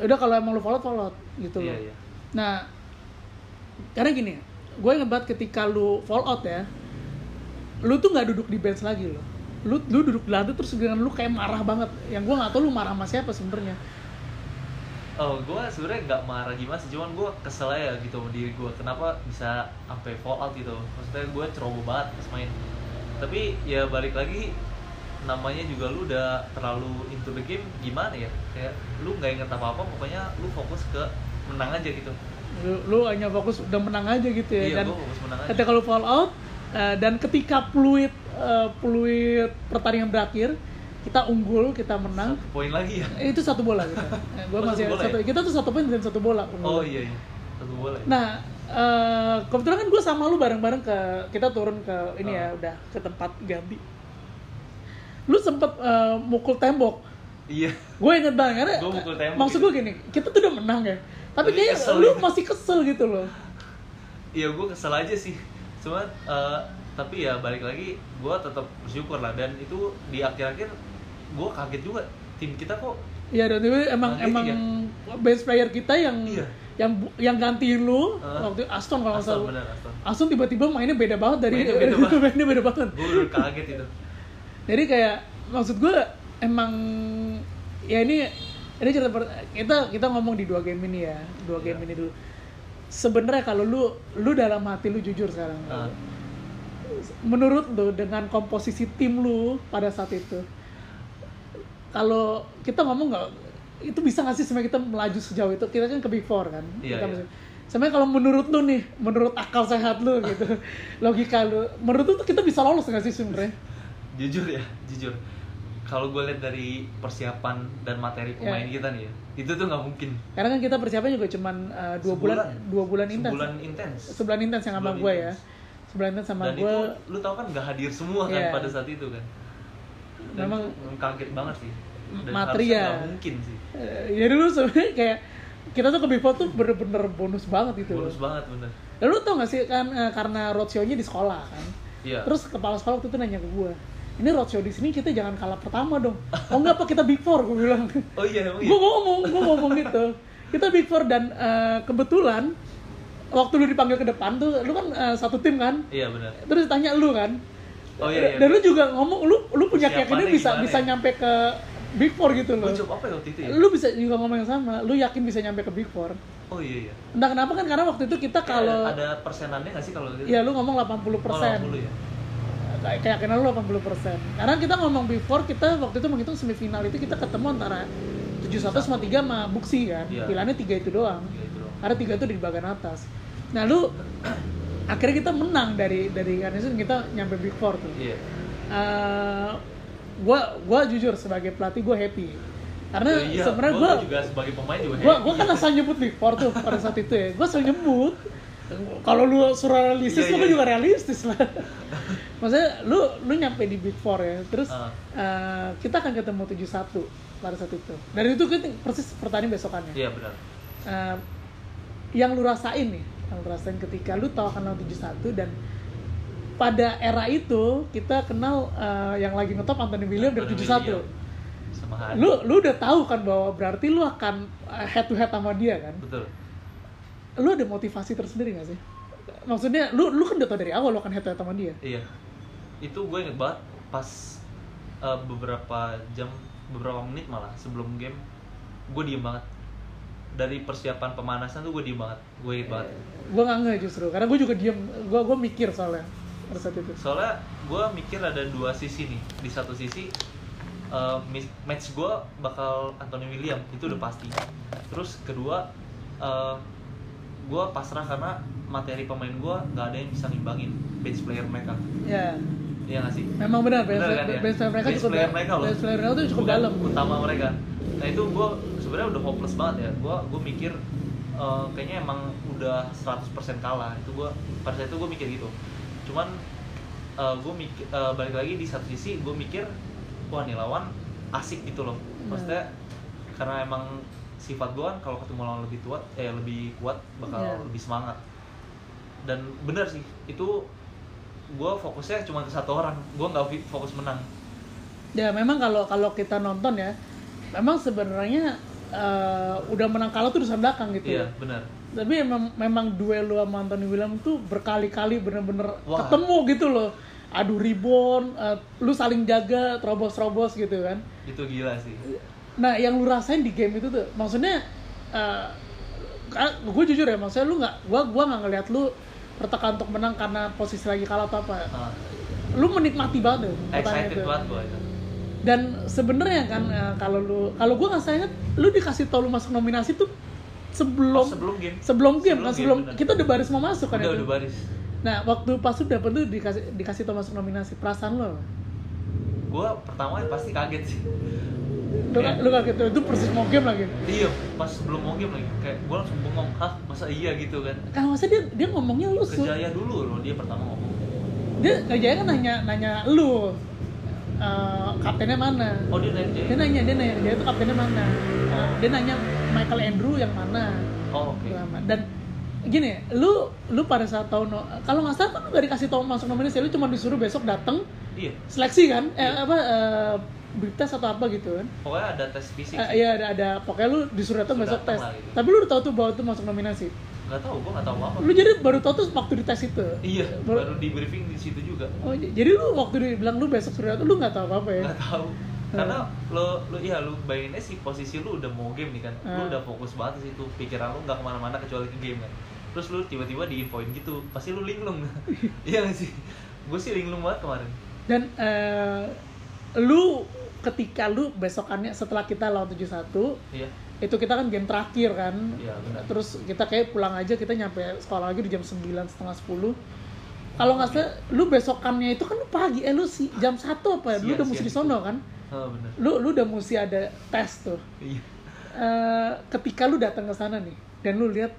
Udah kalau emang lu follow follow gitu loh. iya iya Nah karena gini, gue inget banget ketika lu fall out ya, lu tuh nggak duduk di bench lagi loh. Lu, lu duduk di lantai terus dengan lu kayak marah banget. Yang gue nggak tahu lu marah sama siapa sebenarnya. Oh, gue sebenarnya nggak marah gimana sih, cuman gue kesel aja gitu sama diri gue. Kenapa bisa sampai fallout gitu? Maksudnya gue ceroboh banget pas main. Tapi ya balik lagi, namanya juga lu udah terlalu into the game gimana ya? Kayak lu nggak inget apa apa, pokoknya lu fokus ke menang aja gitu. Lu, lu hanya fokus udah menang aja gitu ya. Iya, Dan gue fokus menang aja. ketika lu fall out eh, dan ketika fluid eh, fluid pertandingan berakhir, kita unggul, kita menang. Satu Poin lagi ya? Eh, itu satu bola kita. <laughs> Eh, gua Oh, masih satu bola satu, ya? kita tuh satu poin dan satu bola. Oh iya iya, satu bola. Ya? Nah, eh, kebetulan kan gue sama lu bareng-bareng ke kita turun ke ini ya Ah. udah ke tempat ganti. Lu sempet eh, mukul tembok. Iya, Gue inget banget karena Gua mukul tembok maksud gitu. gue gini, kita tuh udah menang ya. Tapi Tapi kayaknya kesel lu gitu. masih kesel gitu loh. iya gue kesel aja sih. Cuman eh, tapi ya balik lagi, gue tetap bersyukur lah. Dan itu di akhir-akhir gue kaget juga tim kita kok Iya dan itu emang Nah, gitu emang base player kita yang Iya. yang bu- yang gantiin lu Hah? waktu Aston kalau nggak Aston salah. bener Aston Aston tiba-tiba mainnya beda banget dari Mainnya beda banget. <laughs> mainnya beda banget. gue udah kaget itu Jadi kayak maksud gue emang ya ini ini cerita per- kita kita ngomong di dua game ini ya dua game Iya. ini dulu. Sebenarnya kalau lu lu dalam hati lu jujur sekarang, Nah, menurut lu dengan komposisi tim lu pada saat itu, kalau kita ngomong nggak itu bisa nggak sih sebenarnya kita melaju sejauh itu kita kan ke before kan Iya, Kita iya. masih- sebenarnya kalau menurut lu nih menurut akal sehat lu <laughs> gitu logika lu menurut lu tuh kita bisa lolos nggak sih sebenarnya jujur ya jujur kalau gue lihat dari persiapan dan materi pemain Iya. kita nih ya itu tuh nggak mungkin Karena kan kita persiapannya juga cuman uh, dua Sebulan. ya? bulan, dua bulan intens. sebulan intens Sebulan intens yang sama Sebulan gue ya. intens. Sebulan intens sama dan gue. itu lu tau kan nggak hadir semua kan Iya. pada saat itu kan dan Memang- itu kaget banget sih dan Materi harusnya ya. nggak mungkin sih eh, ya dulu sebenarnya kayak kita tuh ke Before tuh bener-bener bonus banget gitu. bonus banget bener Lalu tau gak sih kan eh, karena roadshow-nya di sekolah kan. iya Terus kepala sekolah waktu itu nanya ke gue, ini roadshow di sini kita jangan kalah pertama dong. Oh enggak apa kita Big Four gue bilang. oh iya emang iya gue ngomong gue ngomong gitu kita big four dan eh, kebetulan waktu lu dipanggil ke depan tuh lu kan eh, satu tim kan iya bener terus tanya lu kan Oh, iya, iya. dan lu juga ngomong lu lu punya keyakinan Persiapannya bisa gimana bisa ya? nyampe ke big four gitu gue loh jawab apa ya waktu itu ya lu bisa juga ngomong yang sama lu yakin bisa nyampe ke big four oh iya iya entah kenapa kan karena waktu itu kita Kayak kalau ada persenannya nggak sih kalau gitu ya lu ngomong 80 Oh, 80 ya Kayak- keyakinan lu 80% karena kita ngomong before kita waktu itu menghitung semifinal itu kita ketemu antara 71 sama 3 sama Buksi kan Iya. pilihannya 3 itu doang Iya, itu doang. karena 3 itu di bagian atas nah lu akhirnya kita menang dari dari Garnison kita nyampe big four tuh iya Eh, gua gua jujur sebagai pelatih gua happy karena Oh, iya. sebenarnya Gua gua juga sebagai pemain juga ya. gua happy. gua kan asal nyebut big four tuh pada saat itu ya gua asal nyebut kalau lu suruh realistis Iya, lu iya. juga realistis lah maksudnya lu lu nyampe di big four ya terus Ah. eh, kita akan ketemu 71 pada saat itu dan itu kita persis pertandingan besokannya iya benar Eh, yang lu rasain nih yang lu rasain ketika lu tahu kenal 71 dan pada era itu kita kenal eh, yang lagi ngetop Anthony William dari Anthony 71 William. sama Hadi lu lu udah tahu kan bahwa berarti lu akan eh, head to head sama dia kan betul lu ada motivasi tersendiri gak sih maksudnya lu lu kan udah tau dari awal lu akan head to head sama dia Iya. Itu gue inget banget pas uh, beberapa jam, beberapa menit malah sebelum game, gue diem banget. Dari persiapan pemanasan tuh gue diem banget. Gue inget banget. gue nggak nge justru karena gue juga diem gue gue mikir soalnya pada saat itu Soalnya gue mikir ada dua sisi nih. Di satu sisi uh, mis- match gue bakal Anthony William itu udah pasti. Terus kedua uh, gue pasrah karena materi pemain gue nggak ada yang bisa ngimbangin bench player mereka. ya Iya nggak sih? memang benar base Benar kan ya? base player mereka Base cukup player dalam. mereka loh. Base player mereka tuh cukup Bukan dalam utama mereka nah itu gue sebenarnya udah hopeless banget ya gue gue mikir eh, kayaknya emang udah 100% kalah itu gue pada saat itu gue mikir gitu cuman gue mikir eh, balik lagi di satu sisi gue mikir wah nih lawan asik gitu loh Iya. maksudnya karena emang sifat gue kan kalau ketemu lawan lebih tua eh lebih kuat bakal Iya. lebih semangat dan benar sih itu gue fokusnya cuma ke satu orang gue nggak fi- fokus menang ya memang kalau kalau kita nonton ya memang sebenarnya eh, udah menang kalah tuh urusan belakang gitu iya ya benar tapi emang, memang duel lu sama Anthony William tuh berkali-kali bener-bener Wah. ketemu gitu loh adu rebound eh, lu saling jaga terobos-terobos gitu kan itu gila sih Nah, yang lu rasain di game itu tuh, maksudnya, gue jujur ya, maksudnya lu nggak, gue gua nggak ngelihat lu tertekan untuk menang karena posisi lagi kalah atau apa. Ah, Lu menikmati banget tuh pertandingan excited itu. banget gue itu Dan sebenarnya kan eh, kalau lu, kalau gue nggak inget, lu dikasih tau lu masuk nominasi tuh oh, sebelum sebelum game sebelum game sebelum kan game, sebelum benar. kita udah baris mau masuk kan udah itu. udah baris Nah, waktu pas lu dapet tuh dikasih dikasih tau masuk nominasi, perasaan lo? apa? gue pertama pasti kaget sih <laughs> Lu, kan, Kayak- lu kaget tuh, itu persis mau game lagi. iya pas sebelum mau game lagi kayak gue langsung bengong hah masa iya gitu kan Kan maksudnya dia dia ngomongnya lu su- kejaya dulu loh dia pertama ngomong dia kerjanya kan nanya nanya lu eh, kaptennya mana oh dia naik dia jaya nanya dia nanya dia itu kaptennya mana Nah, dia nanya Michael Andrew yang mana oh oke Lama. dan gini lu lu pada saat tahu no, kalau nggak salah kan lu gak dikasih tahu masuk nominasi lu cuma disuruh besok datang iya seleksi kan eh, Iya. apa eh, berita atau apa gitu kan pokoknya ada tes fisik Eh, iya ada ada pokoknya lu disuruh datang Suruh besok tes datang lah gitu. Oh. tapi lu udah tahu tuh bahwa tuh masuk nominasi nggak tahu gue nggak tahu apa lu jadi baru tahu tuh waktu di tes itu iya Baru- baru di briefing di situ juga oh, j- jadi lu waktu dibilang lu besok suruh datang lu nggak tahu apa apa ya nggak tahu karena lo lo iya lo bayanginnya sih posisi lu udah mau game nih kan Hmm. lu udah fokus banget di situ pikiran lu nggak kemana-mana kecuali ke game kan terus lu tiba-tiba diinfoin gitu pasti lu linglung iya nggak sih gue sih linglung banget kemarin dan eh, lu ketika lu besokannya setelah kita lawan 71 iya itu kita kan game terakhir kan Iya, benar. terus kita kayak pulang aja kita nyampe sekolah lagi di jam 9 setengah 10 kalau nggak salah lu besokannya itu kan lu pagi eh lu si, jam 1 apa ya? lu Siang, udah mesti siang di sono kan oh, bener lu lu udah mesti ada tes tuh iya Eh, ketika lu datang ke sana nih dan lu lihat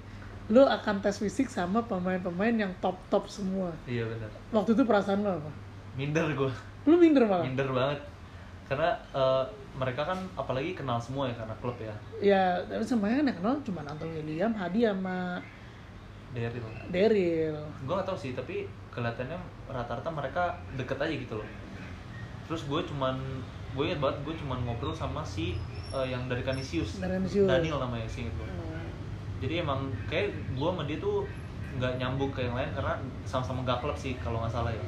lu akan tes fisik sama pemain-pemain yang top-top semua iya bener waktu itu perasaan lu apa? minder gue lu minder malah? minder banget karena eh, mereka kan apalagi kenal semua ya karena klub ya ya tapi semuanya kan yang kenal cuma Anton William, Hadi sama dari Daryl gue gak tau sih tapi kelihatannya rata-rata mereka deket aja gitu loh terus gue cuman gue inget banget gue cuman ngobrol sama si eh, yang dari Kanisius Dari Kanisius. Daniel namanya sih itu jadi emang kayak gue sama dia tuh nggak nyambung ke yang lain karena sama-sama gak klub sih kalau nggak salah ya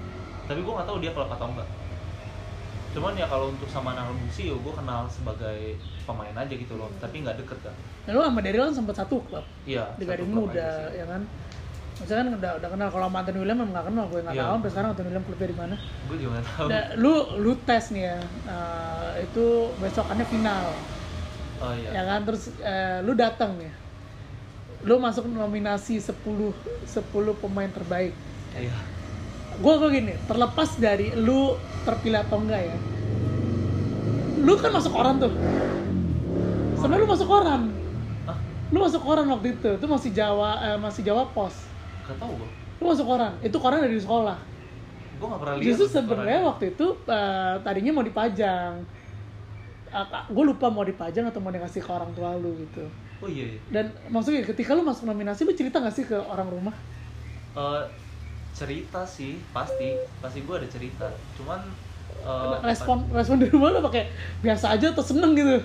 tapi gue nggak tahu dia klub atau enggak cuman ya kalau untuk sama Nalung sih ya gue kenal sebagai pemain aja gitu loh tapi nggak deket kan Nah, lu sama Daryl kan sempat satu klub iya di satu Gading klub aja Muda, sih. ya kan? Maksudnya kan udah, udah kenal, kalau sama Anton William emang gak kenal, gue gak Iya. tahu sampai sekarang Anton William klubnya di mana. gue juga nggak tahu Nah, lu lu tes nih ya, eh, itu besokannya final, oh iya ya kan? Terus eh, lu datang nih, lu masuk nominasi 10 10 pemain terbaik. iya Gue gue gini, terlepas dari lu terpilih atau enggak ya, lu kan masuk koran tuh. Sebenarnya lu masuk koran, ah lu masuk koran waktu itu, itu masih Jawa eh, masih Jawa Pos. nggak tahu gue lu masuk koran itu koran dari sekolah gue gak pernah lihat justru tuh sebenarnya orangnya. waktu itu eh, tadinya mau dipajang gue lupa mau dipajang atau mau dikasih ke orang tua lu gitu oh iya iya dan maksudnya ketika lu masuk nominasi lu cerita gak sih ke orang rumah Eh, cerita sih pasti pasti gue ada cerita cuman eh, respon respon di rumah lu pakai biasa aja atau seneng gitu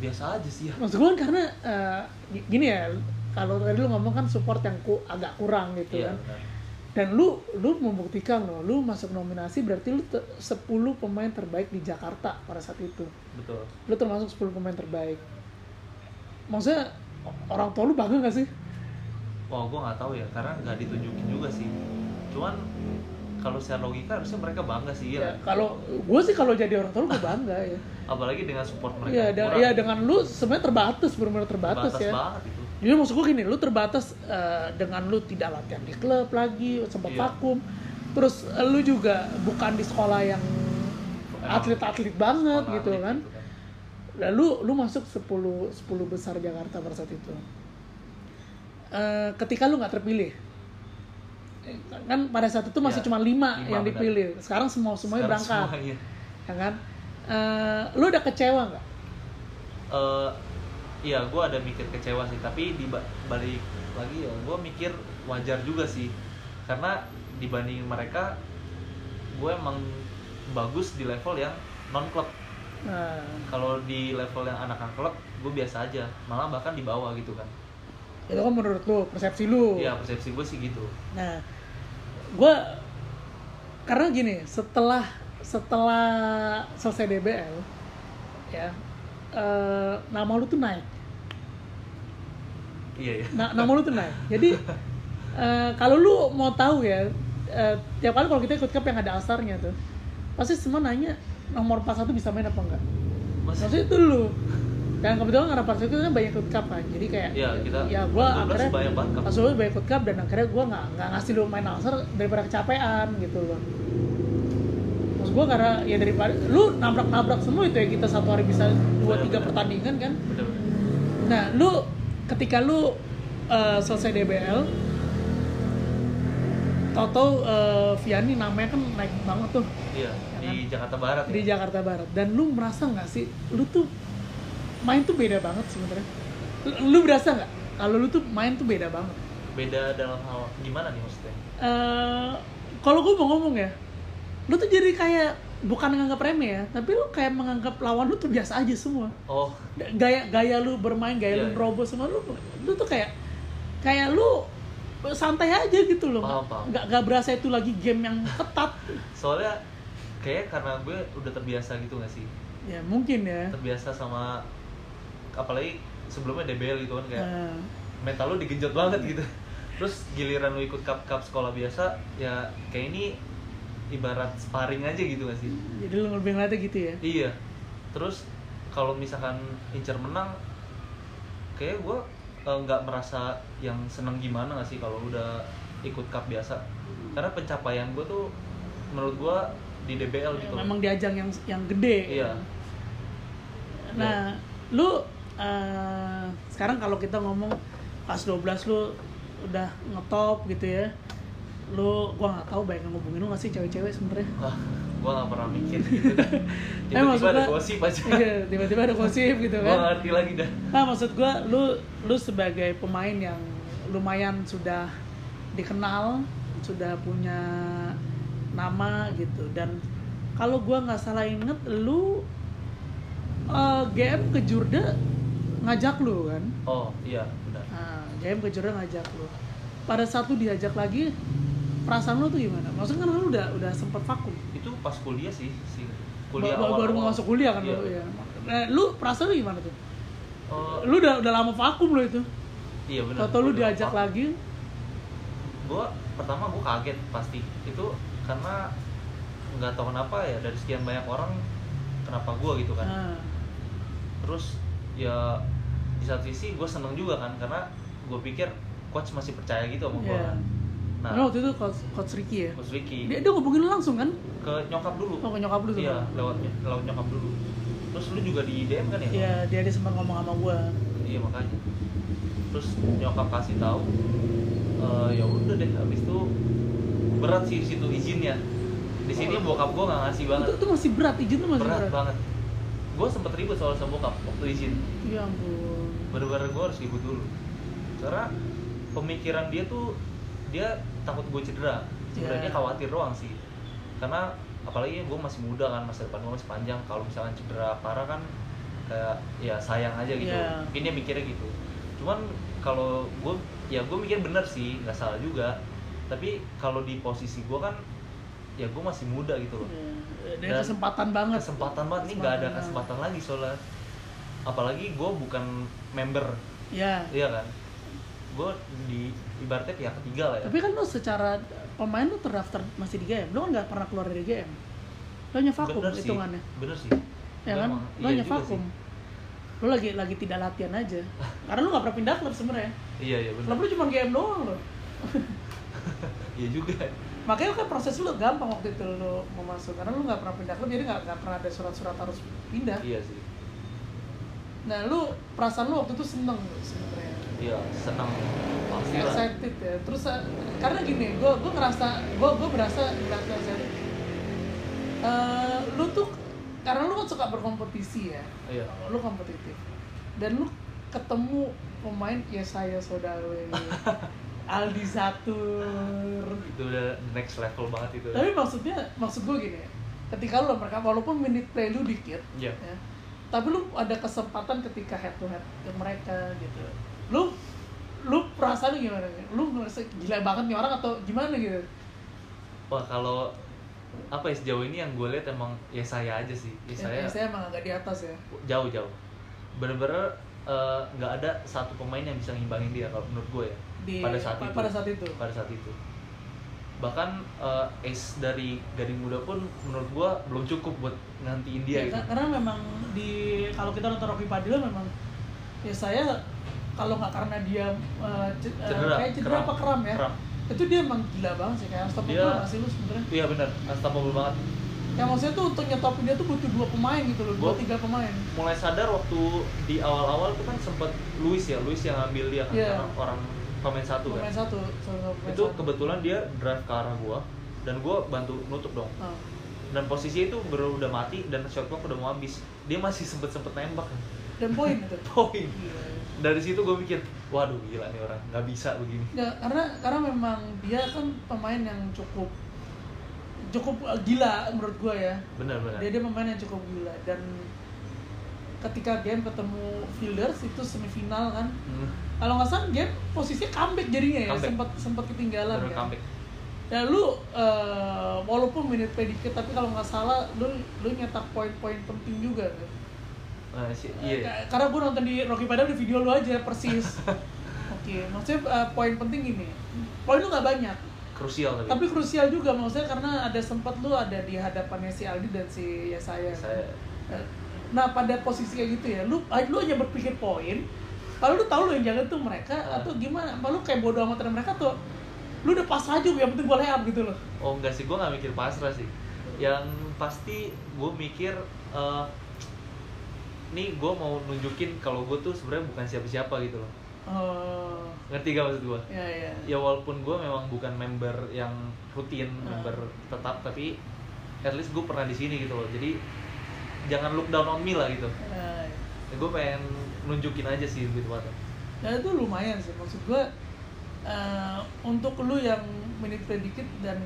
biasa aja sih ya maksud gue kan karena eh, gi- gini ya kalau tadi lu ngomong kan support yang ku, agak kurang gitu iya kan benar. dan lu lu membuktikan lo lu masuk nominasi berarti lu te- 10 pemain terbaik di Jakarta pada saat itu betul lu termasuk 10 pemain terbaik maksudnya o- orang tua lu bangga gak sih? wah gue nggak tahu ya karena nggak ditunjukin juga sih cuman kalau secara logika harusnya mereka bangga sih Ya, ya, kalau gue sih kalau jadi orang tua lu gue bangga ya. apalagi dengan support mereka Iya, yang da- kurang. iya, dengan lu sebenarnya terbatas, benar-benar terbatas, batas ya. banget itu Jadi maksud gue gini, lu terbatas eh, dengan lu tidak latihan di klub lagi, sempat Iya. vakum. Terus eh, lu juga bukan di sekolah yang Emang atlet-atlet banget sekolah gitu atlet kan. Lalu lu masuk 10 10 besar Jakarta pada saat itu. Eh, ketika lu nggak terpilih. Eh, Kan pada saat itu masih Ya, cuma 5 lima, yang benar. dipilih. Sekarang semua semuanya Sekarang berangkat, semuanya. ya kan? Eh, lu udah kecewa nggak? eh ya gue ada mikir kecewa sih tapi di ba- balik lagi ya gue mikir wajar juga sih karena dibanding mereka gue emang bagus di level yang non klub Nah, kalau di level yang anak anak klub gue biasa aja malah bahkan di bawah gitu kan itu kan menurut lu, persepsi lu. ya persepsi gue sih gitu Nah, gue karena gini, setelah setelah selesai DBL, ya, eh, nama lu tuh naik. iya ya Nah, nama lu tuh naik. Jadi eh, kalau lu mau tahu ya, eh, tiap kali kalau kita ikut cup yang ada asarnya tuh, pasti semua nanya nomor 41 bisa main apa enggak. Maksudnya maksudnya itu lu. Dan kebetulan karena pas itu kan banyak ikut cup kan, jadi kayak Iya, kita- ya gua 12 akhirnya banyak banget kan. cup. pas lu banyak ikut cup dan akhirnya gua nggak nggak ngasih lu main asar daripada kecapean gitu loh. Terus gua karena ya daripada lu nabrak-nabrak semua itu ya kita satu hari bisa dua tiga Benar-benar. pertandingan kan. bener bener Nah, lu ketika lu uh, selesai DBL, Toto uh, Viani namanya kan naik banget tuh iya di Jakarta Barat di ya Jakarta Barat. Dan lu merasa nggak sih, lu tuh main tuh beda banget sebenarnya. Lu- Lu berasa nggak? Kalau lu tuh main tuh beda banget. beda dalam hal gimana nih maksudnya Eh, Kalau gue mau ngomong ya, lu tuh jadi kayak bukan menganggap remeh ya tapi lu kayak menganggap lawan lu tuh biasa aja semua oh gaya gaya lu bermain gaya Iya, lu iya. nerobos semua lu lu tuh kayak kayak lu santai aja gitu loh Paham, paham. nggak nggak berasa itu lagi game yang ketat soalnya kayak karena gue udah terbiasa gitu gak sih ya mungkin ya terbiasa sama apalagi sebelumnya DBL gitu kan kayak Nah, mental lu digenjot banget gitu terus giliran lu ikut cup cup sekolah biasa ya kayak ini ibarat sparring aja gitu gak sih jadi lu lebih ngeliatnya gitu ya iya terus kalau misalkan incer menang kayak gue eh, nggak merasa yang seneng gimana gak sih kalau udah ikut cup biasa karena pencapaian gue tuh menurut gue di DBL gitu memang di ajang yang yang gede iya Nah, lu eh, sekarang kalau kita ngomong pas 12 lu udah ngetop gitu ya. Lu gua nggak tahu banyak yang ngubungin lu nggak sih cewek-cewek sebenarnya. <laughs> wah gue gak pernah mikir gitu Eh, tiba-tiba maksud ada gua- gosip aja Iya, tiba-tiba ada gosip gitu gue kan. ngerti lagi dah Nah, maksud gua lu lu sebagai pemain yang lumayan sudah dikenal, sudah punya nama gitu dan kalau gua nggak salah inget lu eh, GM ke Jurda ngajak lu kan? oh iya benar Nah, JM ke Jordan ngajak lu. Pada saat lu diajak lagi, perasaan lu tuh gimana? Maksudnya kan lu udah udah sempet vakum. itu pas kuliah sih sih kuliah Ba- ba- awal baru mau masuk kuliah kan Iya. lu ya. Nah, lu perasaan lu gimana tuh? Eh, Lu udah udah lama vakum lu itu. iya benar Atau lu diajak lagi? gue pertama gue kaget pasti itu karena nggak tahu kenapa ya dari sekian banyak orang kenapa gue gitu kan Nah, terus ya di satu sisi gue seneng juga kan karena gue pikir coach masih percaya gitu sama gue Iya. kan nah Karena waktu itu coach, coach Ricky ya. coach Ricky Dia, dia ngubungin lu langsung kan? ke nyokap dulu Mau ke nyokap lu tuh. iya lewat lewat nyokap dulu terus lu juga di DM kan ya Iya, dia dia sempat ngomong sama gua. iya makanya terus nyokap kasih tahu eh, ya udah deh habis itu berat sih di situ izinnya di sini bokap gue nggak ngasih banget Oh. Itu tuh masih berat, izin tuh masih berat berat. banget gue sempet ribut soal sama bokap waktu izin Ya ampun. bener-bener gue harus ribut dulu karena pemikiran dia tuh dia takut gue cedera sebenarnya Iya. khawatir doang sih karena apalagi gue masih muda kan masa depan gue masih panjang kalau misalkan cedera parah kan kayak ya sayang aja gitu Iya. ini mikirnya gitu cuman kalau gue ya gue mikir bener sih nggak salah juga tapi kalau di posisi gue kan ya gue masih muda gitu loh Iya. Dia Dan- kesempatan banget. kesempatan banget nih nggak ada Kesempatan iya. kesempatan lagi soalnya apalagi gue bukan member Iya. iya kan gue di ibaratnya pihak ketiga lah ya Tapi kan lu secara pemain lu terdaftar masih di GM, lu kan nggak pernah keluar dari GM. Lu hanya vakum bener sih hitungannya, bener sih ya kan? Memang, Lu iya hanya juga vakum. sih. Lu lagi lagi tidak latihan <laughs> aja. Karena lu nggak pernah pindah klub sebenarnya. iya iya bener Klub lu cuma GM doang lo. iya juga Makanya kan proses lu gampang waktu itu lu mau masuk karena lu nggak pernah pindah klub jadi nggak nggak pernah ada surat-surat harus pindah. iya sih Nah, lu perasaan lu waktu itu seneng lu sebenarnya. iya senang pasti lah excited ya terus eh, karena gini gue gue ngerasa gue gue berasa berasa excited Eh, lu tuh karena lu kan suka berkompetisi ya iya lu kompetitif dan lu ketemu pemain ya saya Sodawe Aldi Zatur itu udah next level banget itu tapi maksudnya maksud gue gini ya, ketika lu mereka walaupun minute play lu dikit iya ya. Tapi lu ada kesempatan ketika head to head ke mereka gitu. Lu lu perasaan lu gimana? Lu ngerasa gila banget nih orang atau gimana gitu? wah kalau apa ya sejauh ini yang gue lihat emang ya saya aja sih ya saya Ya, saya emang agak di atas ya. jauh jauh bener-bener eh, nggak ada satu pemain yang bisa ngimbangin dia kalau menurut gue ya Di, pada saat pa- itu Pada saat itu. pada saat itu bahkan eh, ace dari gading muda pun menurut gua belum cukup buat ngantiin dia Ya, gitu ka- karena memang di kalau kita nonton Rocky Padilla memang ya saya kalau nggak karena dia eh, ce- eh, Cedera, kayak cedera kram. apa kram ya Kram. itu dia emang gila banget sih kayak stop Dia- sih lu sebenarnya iya benar unstoppable banget ya maksudnya tuh untuk nyetopin dia tuh butuh dua pemain gitu loh dua Gua- tiga pemain mulai sadar waktu di awal-awal tuh kan sempet Luis ya Luis yang ngambil dia kan Iya. karena orang pemain satu pemain kan satu sama pemain itu satu. kebetulan dia drive ke arah gua dan gua bantu nutup dong Ah. dan posisi itu baru udah mati dan shot clock udah mau habis dia masih sempet sempet nembak dan poin itu <laughs> poin dari situ gue mikir waduh gila nih orang nggak bisa begini ya karena karena memang dia kan pemain yang cukup cukup eh, gila menurut gue ya benar-benar dia dia pemain yang cukup gila dan ketika game ketemu Fielders itu semifinal kan hmm, kalau nggak salah game posisinya comeback jadinya ya Comeback. sempat sempat ketinggalan benar kan comeback dan lu eh, walaupun menit predikit tapi kalau nggak salah lu lu nyetak poin-poin penting juga kan Nah, Eh, si- iya Ka- Karena gue nonton di Rocky Padam di video lu aja persis. Oke, maksudnya uh, poin penting gini. Poin lu nggak banyak, krusial tapi, tapi krusial juga maksudnya karena ada sempat lu ada di hadapannya si Aldi dan si Yesaya. saya Nah, pada posisi kayak gitu ya, lu lu hanya berpikir poin. Kalau lu tahu lu yang jaga tuh mereka Ah. atau gimana? Apa lu kayak bodo amat dengan mereka tuh? Lu udah pas aja yang penting gue layup gitu loh. oh enggak sih gue nggak mikir pasrah sih yang pasti gue mikir eh, nih gue mau nunjukin kalau gue tuh sebenarnya bukan siapa-siapa gitu loh Oh, ngerti gak maksud gue ya ya. ya walaupun gue memang bukan member yang rutin Hmm. member tetap tapi at least gue pernah di sini gitu loh jadi jangan look down on me lah gitu Ya, ya. gue pengen nunjukin aja sih gitu, lebih tepatnya ya itu lumayan sih maksud gua eh, untuk lu yang menit predikit dan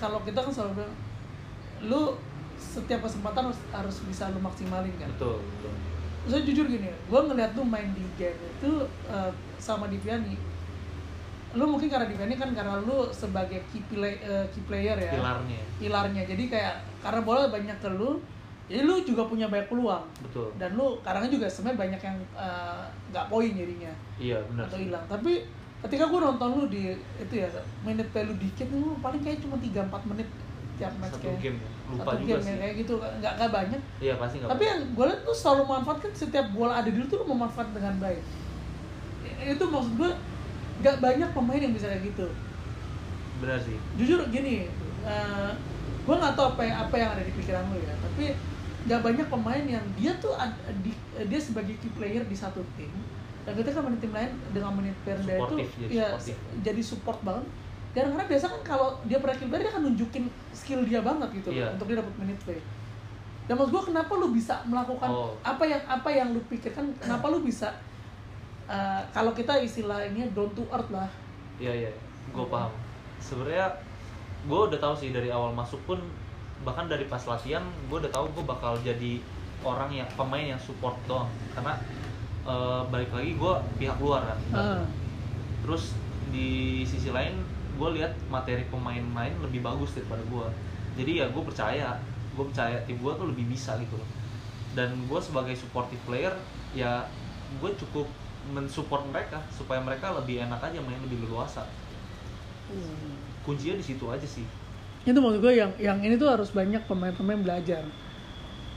kalau kita kan selalu bilang lu setiap kesempatan harus, harus bisa lu maksimalin kan betul betul saya jujur gini gua ngeliat lu main di game itu eh, sama Diviani lu mungkin karena Diviani kan karena lu sebagai key, play- eh, key player ya pilarnya pilarnya jadi kayak karena bola banyak ke lu jadi lu juga punya banyak peluang betul dan lu karena juga sebenarnya banyak yang eh, nggak poin jadinya iya benar atau hilang tapi ketika gue nonton lu di itu ya menit kayak lu dikit lu paling kayak cuma 3-4 menit tiap match satu kayak game ya. lupa satu juga game ya, sih kayak gitu nggak nggak banyak iya pasti nggak tapi yang gue liat tuh selalu manfaatkan setiap bola ada di lu tuh lu memanfaatkan dengan baik I- itu maksud gue nggak banyak pemain yang bisa kayak gitu benar sih jujur gini gue nggak tahu apa yang, apa yang ada di pikiran lu ya tapi nggak banyak pemain yang dia tuh ad- di- dia sebagai key player di satu tim dan ketika main tim lain dengan menit player dia itu Supportive, jadi ya supportive. s- jadi support banget dan karena biasa kan kalau dia pernah key player dia akan nunjukin skill dia banget gitu loh Iya. untuk dia dapat menit play dan maksud gue kenapa lu bisa melakukan Oh. apa yang apa yang lu pikirkan kenapa lu bisa eh, kalau kita istilahnya down to earth lah iya iya gue paham sebenarnya gue udah tahu sih dari awal masuk pun bahkan dari pas latihan gue udah tahu gue bakal jadi orang yang pemain yang support doang karena eh, balik lagi gue pihak luar kan Heeh. terus di sisi lain gue lihat materi pemain lain lebih bagus daripada gue jadi ya gue percaya gue percaya tim gue tuh lebih bisa gitu loh dan gue sebagai supportive player ya gue cukup mensupport mereka supaya mereka lebih enak aja main lebih leluasa kuncinya di situ aja sih itu maksud gue yang yang ini tuh harus banyak pemain-pemain belajar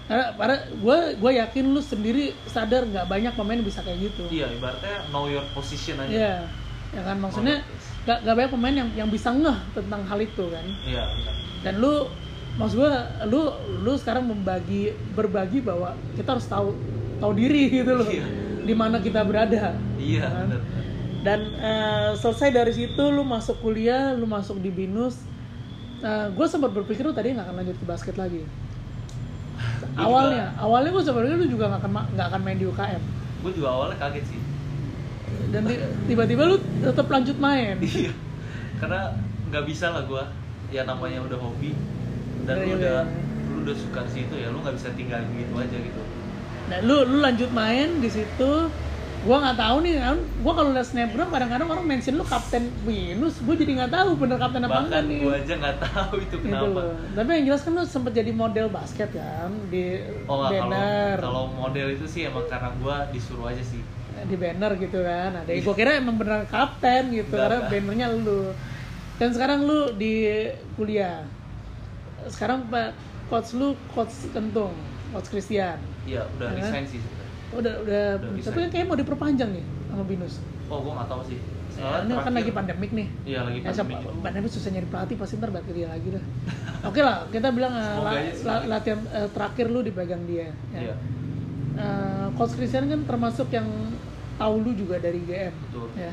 karena karena gue gue yakin lu sendiri sadar nggak banyak pemain bisa kayak gitu iya ibaratnya know your position aja Iya. ya kan Know maksudnya your place. nggak nggak banyak pemain yang yang bisa ngeh tentang hal itu kan iya benar. dan lu maksud gue lu lu sekarang membagi berbagi bahwa kita harus tahu tahu diri gitu loh Iya. di mana kita berada iya Kan? benar dan eh, selesai dari situ lu masuk kuliah lu masuk di binus gue sempat berpikir lu tadi nggak akan lanjut ke basket lagi awalnya awalnya gue sempat berpikir lu juga nggak akan ma- nggak akan main di UKM gue juga awalnya kaget sih dan ti- tiba-tiba lu tetap lanjut main iya karena nggak bisa lah gua ya namanya udah hobi dan Iya, lu udah iya. lu udah suka di situ ya lu nggak bisa tinggalin gitu aja gitu nah lu lu lanjut main di situ gue nggak tahu nih gue kalau liat snapgram kadang-kadang orang mention lu kapten binus gue jadi nggak tahu bener kapten apa enggak bahkan nih gua aja nggak tahu itu Gitu kenapa loh. tapi yang jelas kan lu sempet jadi model basket kan di oh nggak, kalau banner kalau model itu sih emang karena gua disuruh aja sih di banner gitu kan ada Iya. gue kira emang beneran kapten gitu Enggak, karena enggak. bannernya lu dan sekarang lu di kuliah sekarang pak coach lu coach kentung coach Christian iya udah Iya. resign sih sebenarnya. udah udah, Udah tapi kan resign. kayaknya mau diperpanjang nih sama binus oh gua nggak tahu sih Nah, ini kan lagi pandemik nih iya Oh, lagi Ya, pandemi siapa- juga. pandemi susah nyari pelatih pasti ntar bakal dia lagi dah. <laughs> Oke lah, kita bilang eh, Semoga la- aja sih. la- latihan eh, terakhir lu dipegang dia. iya Ya. Eh, Coach Christian kan termasuk yang tahu lu juga dari GM. betul ya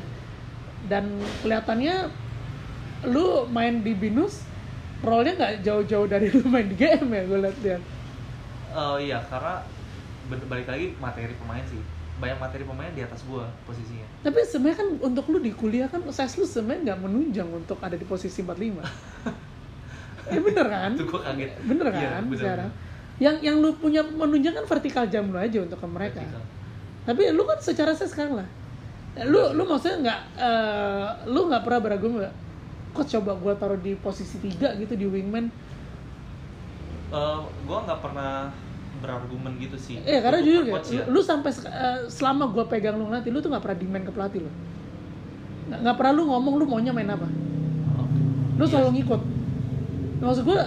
dan kelihatannya lu main di binus role-nya nggak jauh-jauh dari <laughs> lu main di GM ya gue lihat dia Eh, iya karena ben- balik lagi materi pemain sih banyak materi pemain di atas gua posisinya tapi sebenarnya kan <laughs> untuk lu di kuliah kan size lu sebenarnya nggak menunjang untuk ada di posisi 45 ya bener kan itu gue kaget bener kan Iya, bener. sekarang yang yang lu punya menunjang kan vertikal jam lu aja untuk ke mereka Vertikal. Iya, tapi lu kan secara saya sekarang lah lu lu maksudnya nggak eh, lu nggak pernah beragam nggak kok coba gua taruh di posisi tiga gitu di wingman Eh, gue nggak pernah berargumen gitu sih eh karena Untuk jujur ya, coach ya. lu, lu sampai sek- eh, selama gua pegang lu nanti lu tuh nggak pernah demand ke pelatih lu nggak nggak pernah lu ngomong lu maunya main apa Oke. lu Iya selalu ngikut maksud gue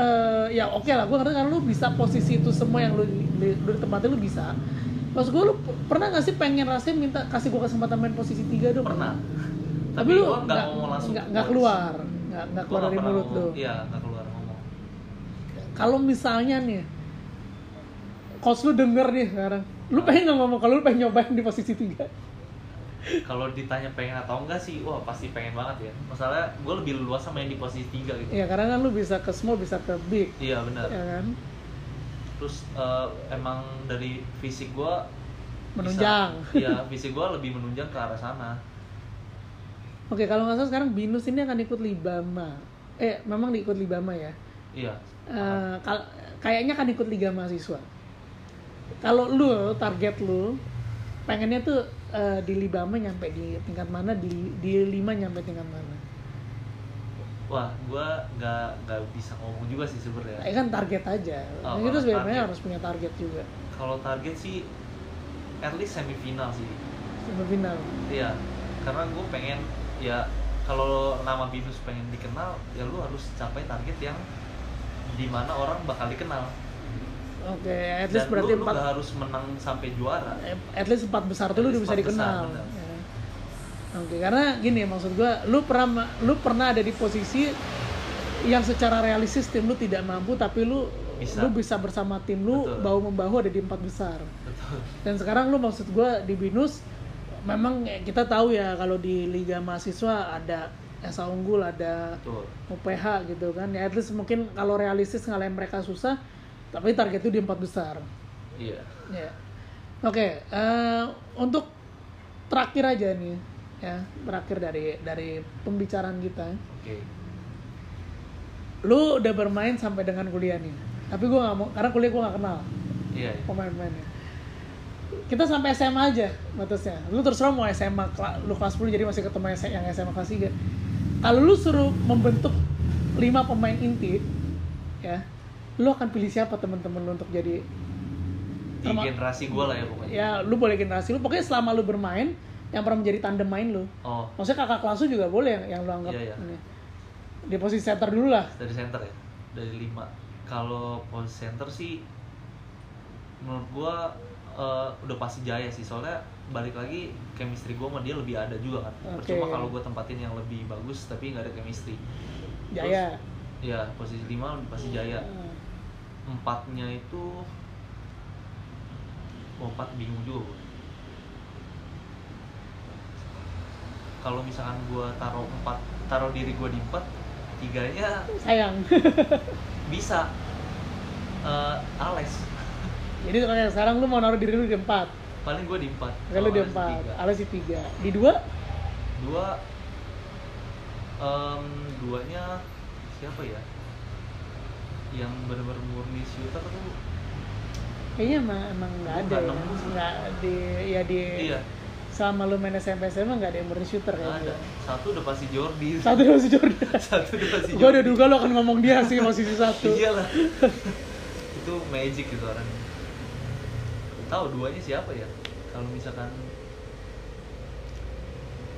eh, ya oke lah gue ngerti kan lu bisa posisi itu semua yang lu di, lu di tempatnya lu bisa maksud gue lu p- pernah gak sih pengen rasanya minta kasih gue kesempatan main posisi tiga dong pernah tapi, lu gua nggak nggak ngomong langsung nggak ke nggak coach. keluar nggak nggak Gua keluar nggak dari pernah mulut lu ngomong. iya nggak keluar ngomong kalau misalnya nih coach lu denger nih sekarang lu pengen nggak ngomong kalau lu pengen nyobain di posisi tiga kalau ditanya pengen atau enggak sih wah pasti pengen banget ya masalahnya gue lebih luas sama yang di posisi tiga gitu ya karena kan lu bisa ke small bisa ke big iya benar ya kan terus eh, emang dari fisik gue <laughs> menunjang iya fisik gue lebih menunjang ke arah sana Oke, kalau nggak salah sekarang Binus ini akan ikut Libama. Eh, memang diikut Libama ya. iya Eh, kal- kayaknya akan ikut Liga Mahasiswa. Kalau lu target lu pengennya tuh eh, di Libama nyampe di tingkat mana, di di lima nyampe tingkat mana. wah gue nggak nggak bisa ngomong juga sih Ya sebenarnya kan target aja. Oh, Nah, itu kalau target. sebenarnya harus punya target juga. kalau target sih at least semifinal sih Semifinal. Iya, karena gue pengen ya kalau nama Binus pengen dikenal, ya lu harus capai target yang dimana orang bakal dikenal. Oke, at least Dan berarti lu, lu empat nggak harus menang sampai juara. Eh, at least empat besar tuh At lu udah least bisa empat besar, dikenal. benar. Ya. Oke, karena gini maksud gua, lu pernah ma- lu pernah ada di posisi yang secara realistis tim lu tidak mampu tapi lu Bisa. lu bisa bersama tim lu Betul. bahu membahu ada di empat besar. Betul. Dan sekarang lu maksud gua di Binus memang kita tahu ya kalau di Liga Mahasiswa ada Esa Unggul, ada Betul. UPH gitu kan. Ya at least mungkin kalau realistis ngalahin mereka susah, tapi target itu di empat besar. Iya. Ya. Oke, eh, untuk terakhir aja nih, ya terakhir dari dari pembicaraan kita. Oke. Lu udah bermain sampai dengan kuliah nih, tapi gue nggak mau karena kuliah gue nggak kenal Iya. iya. pemain-pemainnya. ya. Kita sampai SMA aja batasnya. Lu terus terang mau SMA, kela- lu kelas 10 jadi masih ketemu S- yang SMA kelas 3. Kalau lu suruh membentuk 5 pemain inti, ya, lu akan pilih siapa teman-teman lu untuk jadi Di Terma- generasi gue lah ya pokoknya. ya lu boleh generasi lu pokoknya selama lu bermain yang pernah menjadi tandem main lu Oh, maksudnya kakak kelas lu juga boleh yang, yang lu anggap Iya, iya. ini. di posisi center dulu lah dari center ya. Dari lima. Kalau posisi center sih, menurut gue udah pasti jaya sih soalnya balik lagi chemistry gue sama dia lebih ada juga Oke. kan percuma kalau gue tempatin yang lebih bagus tapi nggak ada chemistry Jaya Ya, posisi 5 pasti Jaya. Eh, Empatnya itu oh, empat bingung juga. gua. Kalau misalkan gua taruh empat, taruh diri gua di empat, tiganya sayang <laughs> bisa Eh, Alex. jadi kayak sekarang lu mau naruh diri lu di empat Paling gua di empat. kayak lu kalau di Alex empat Oh, tiga. Alex di tiga di dua Dua em, duanya siapa ya? Yang benar-benar murni shooter tuh kayaknya emang emang nggak ada Nggak ya. nemu sih. nggak di ya di iya, selama lu main SMP SMA nggak ada yang murni shooter nggak kayaknya ada. Satu udah pasti Jordi. satu masih Jordan <laughs> satu dua sih gue udah duga lu akan ngomong dia sih posisi satu iyalah <laughs> itu magic gitu orangnya tahu duanya siapa ya kalau misalkan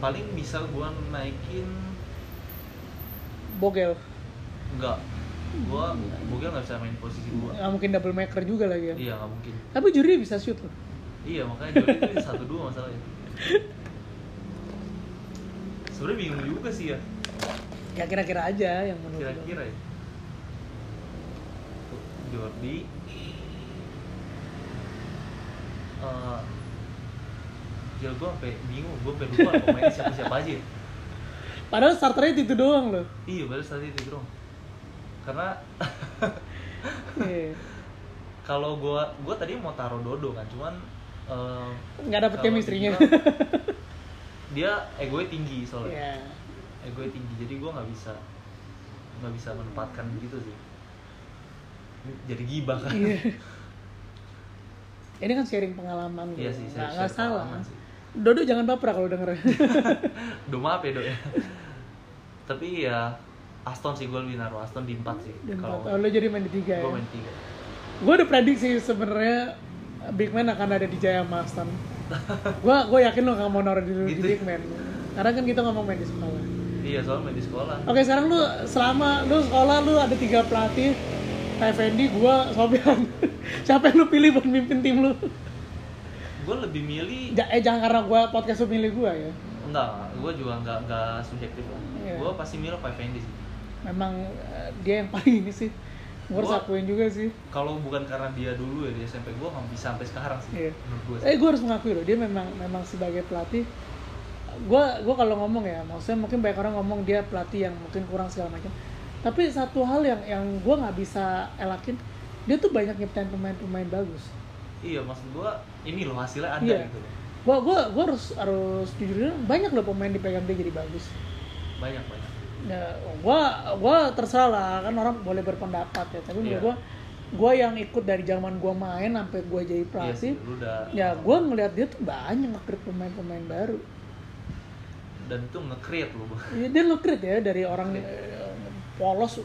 paling bisa gua naikin bogel enggak gua mungkin nggak bisa main posisi gua nggak mungkin double maker juga lagi ya iya nggak mungkin tapi juri bisa shoot loh iya makanya Jordi itu satu dua masalahnya sebenarnya bingung juga sih ya ya kira-kira aja yang menurut lo. kira-kira ya Jordi Eh, ya gue sampai bingung gue sampai lupa pemain siapa siapa aja ya. padahal starternya itu doang loh iya baru saat itu bro karena Iya. kalau gue gue tadi mau taruh Dodo kan cuman eh, nggak dapet kalau chemistry-nya <laughs> dibilang, dia egonya tinggi soalnya Iya. egonya tinggi jadi gue nggak bisa nggak bisa menempatkan gitu sih Ini jadi gibah kan Iya. Ini kan sharing pengalaman iya gitu. sih Nggak- saya nggak share salah. pengalaman sih. <laughs> Dodo jangan baper kalau denger. do maaf ya do ya tapi ya Aston sih gue lebih naruh Aston di 4 sih Dan kalau empat- oh, lo jadi main di tiga ya. gue main 3 Gue udah prediksi sebenarnya Big Man akan ada di Jaya Mastan. gue gue yakin lo gak mau naruh di, di Gitu ya? Big Man. Karena kan kita ngomong main di sekolah. iya soalnya main di sekolah Oke sekarang lu selama lu sekolah lu ada tiga pelatih Pak Effendi, gua, Sobian <laughs> Siapa yang lu pilih buat mimpin tim lu? gue lebih milih Ja- eh jangan karena gua podcast lu milih gua ya enggak gue juga nggak nggak subjektif lah Iya. gue pasti milih Pak Fendi sih Memang eh, dia yang paling ini sih Gua harus Gua- akuin juga sih kalau bukan karena dia dulu ya di SMP gue nggak bisa sampai sekarang sih Iya. menurut gue Eh gua harus mengakui loh, dia memang memang sebagai pelatih Gua gua kalau ngomong ya, maksudnya mungkin banyak orang ngomong dia pelatih yang mungkin kurang segala macam Tapi satu hal yang yang gua nggak bisa elakin Dia tuh banyak nyiptain pemain-pemain bagus iya maksud gue ini loh hasilnya ada Iya. gitu loh. gua gua gua harus harus jujur banyak loh pemain di PMB jadi bagus banyak banyak ya, gua gua terserah lah kan orang boleh berpendapat ya tapi menurut Iya. gua gua yang ikut dari zaman gua main sampai gua jadi iya pelatih sih lu udah ya gua ngeliat dia tuh banyak nge-create pemain-pemain baru dan itu nge-create lu ya, dia nge-create ya dari orang Iya, eh, polos eh,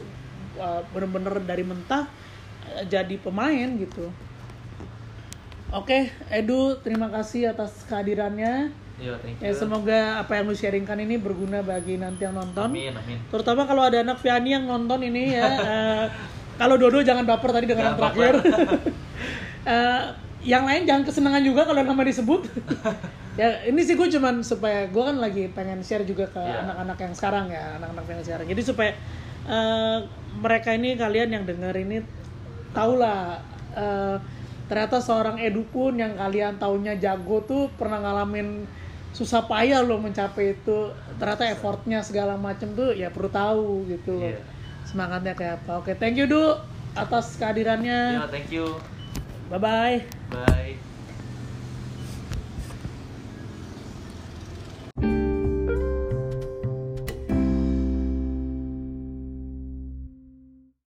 bener-bener dari mentah eh, jadi pemain gitu Oke, Edu, terima kasih atas kehadirannya. iya thank you Ya, semoga apa yang lu sharingkan ini berguna bagi nanti yang nonton. amin amin Terutama kalau ada anak Viani yang nonton ini <laughs> ya. eh, kalau Dodo jangan baper tadi dengan yang Jangan terakhir. <laughs> Eh, yang lain jangan kesenangan juga kalau nama <laughs> disebut. ya ini sih gue cuman supaya gue kan lagi pengen share juga ke Iya. anak-anak yang sekarang ya, anak-anak yang sekarang. Jadi supaya eh, mereka ini kalian yang denger ini tahulah eh, ternyata seorang edu pun yang kalian taunya jago tuh pernah ngalamin susah payah loh mencapai itu ternyata effortnya segala macem tuh ya perlu tahu gitu loh Iya. semangatnya kayak apa oke thank you Du atas iya kehadirannya thank you bye bye bye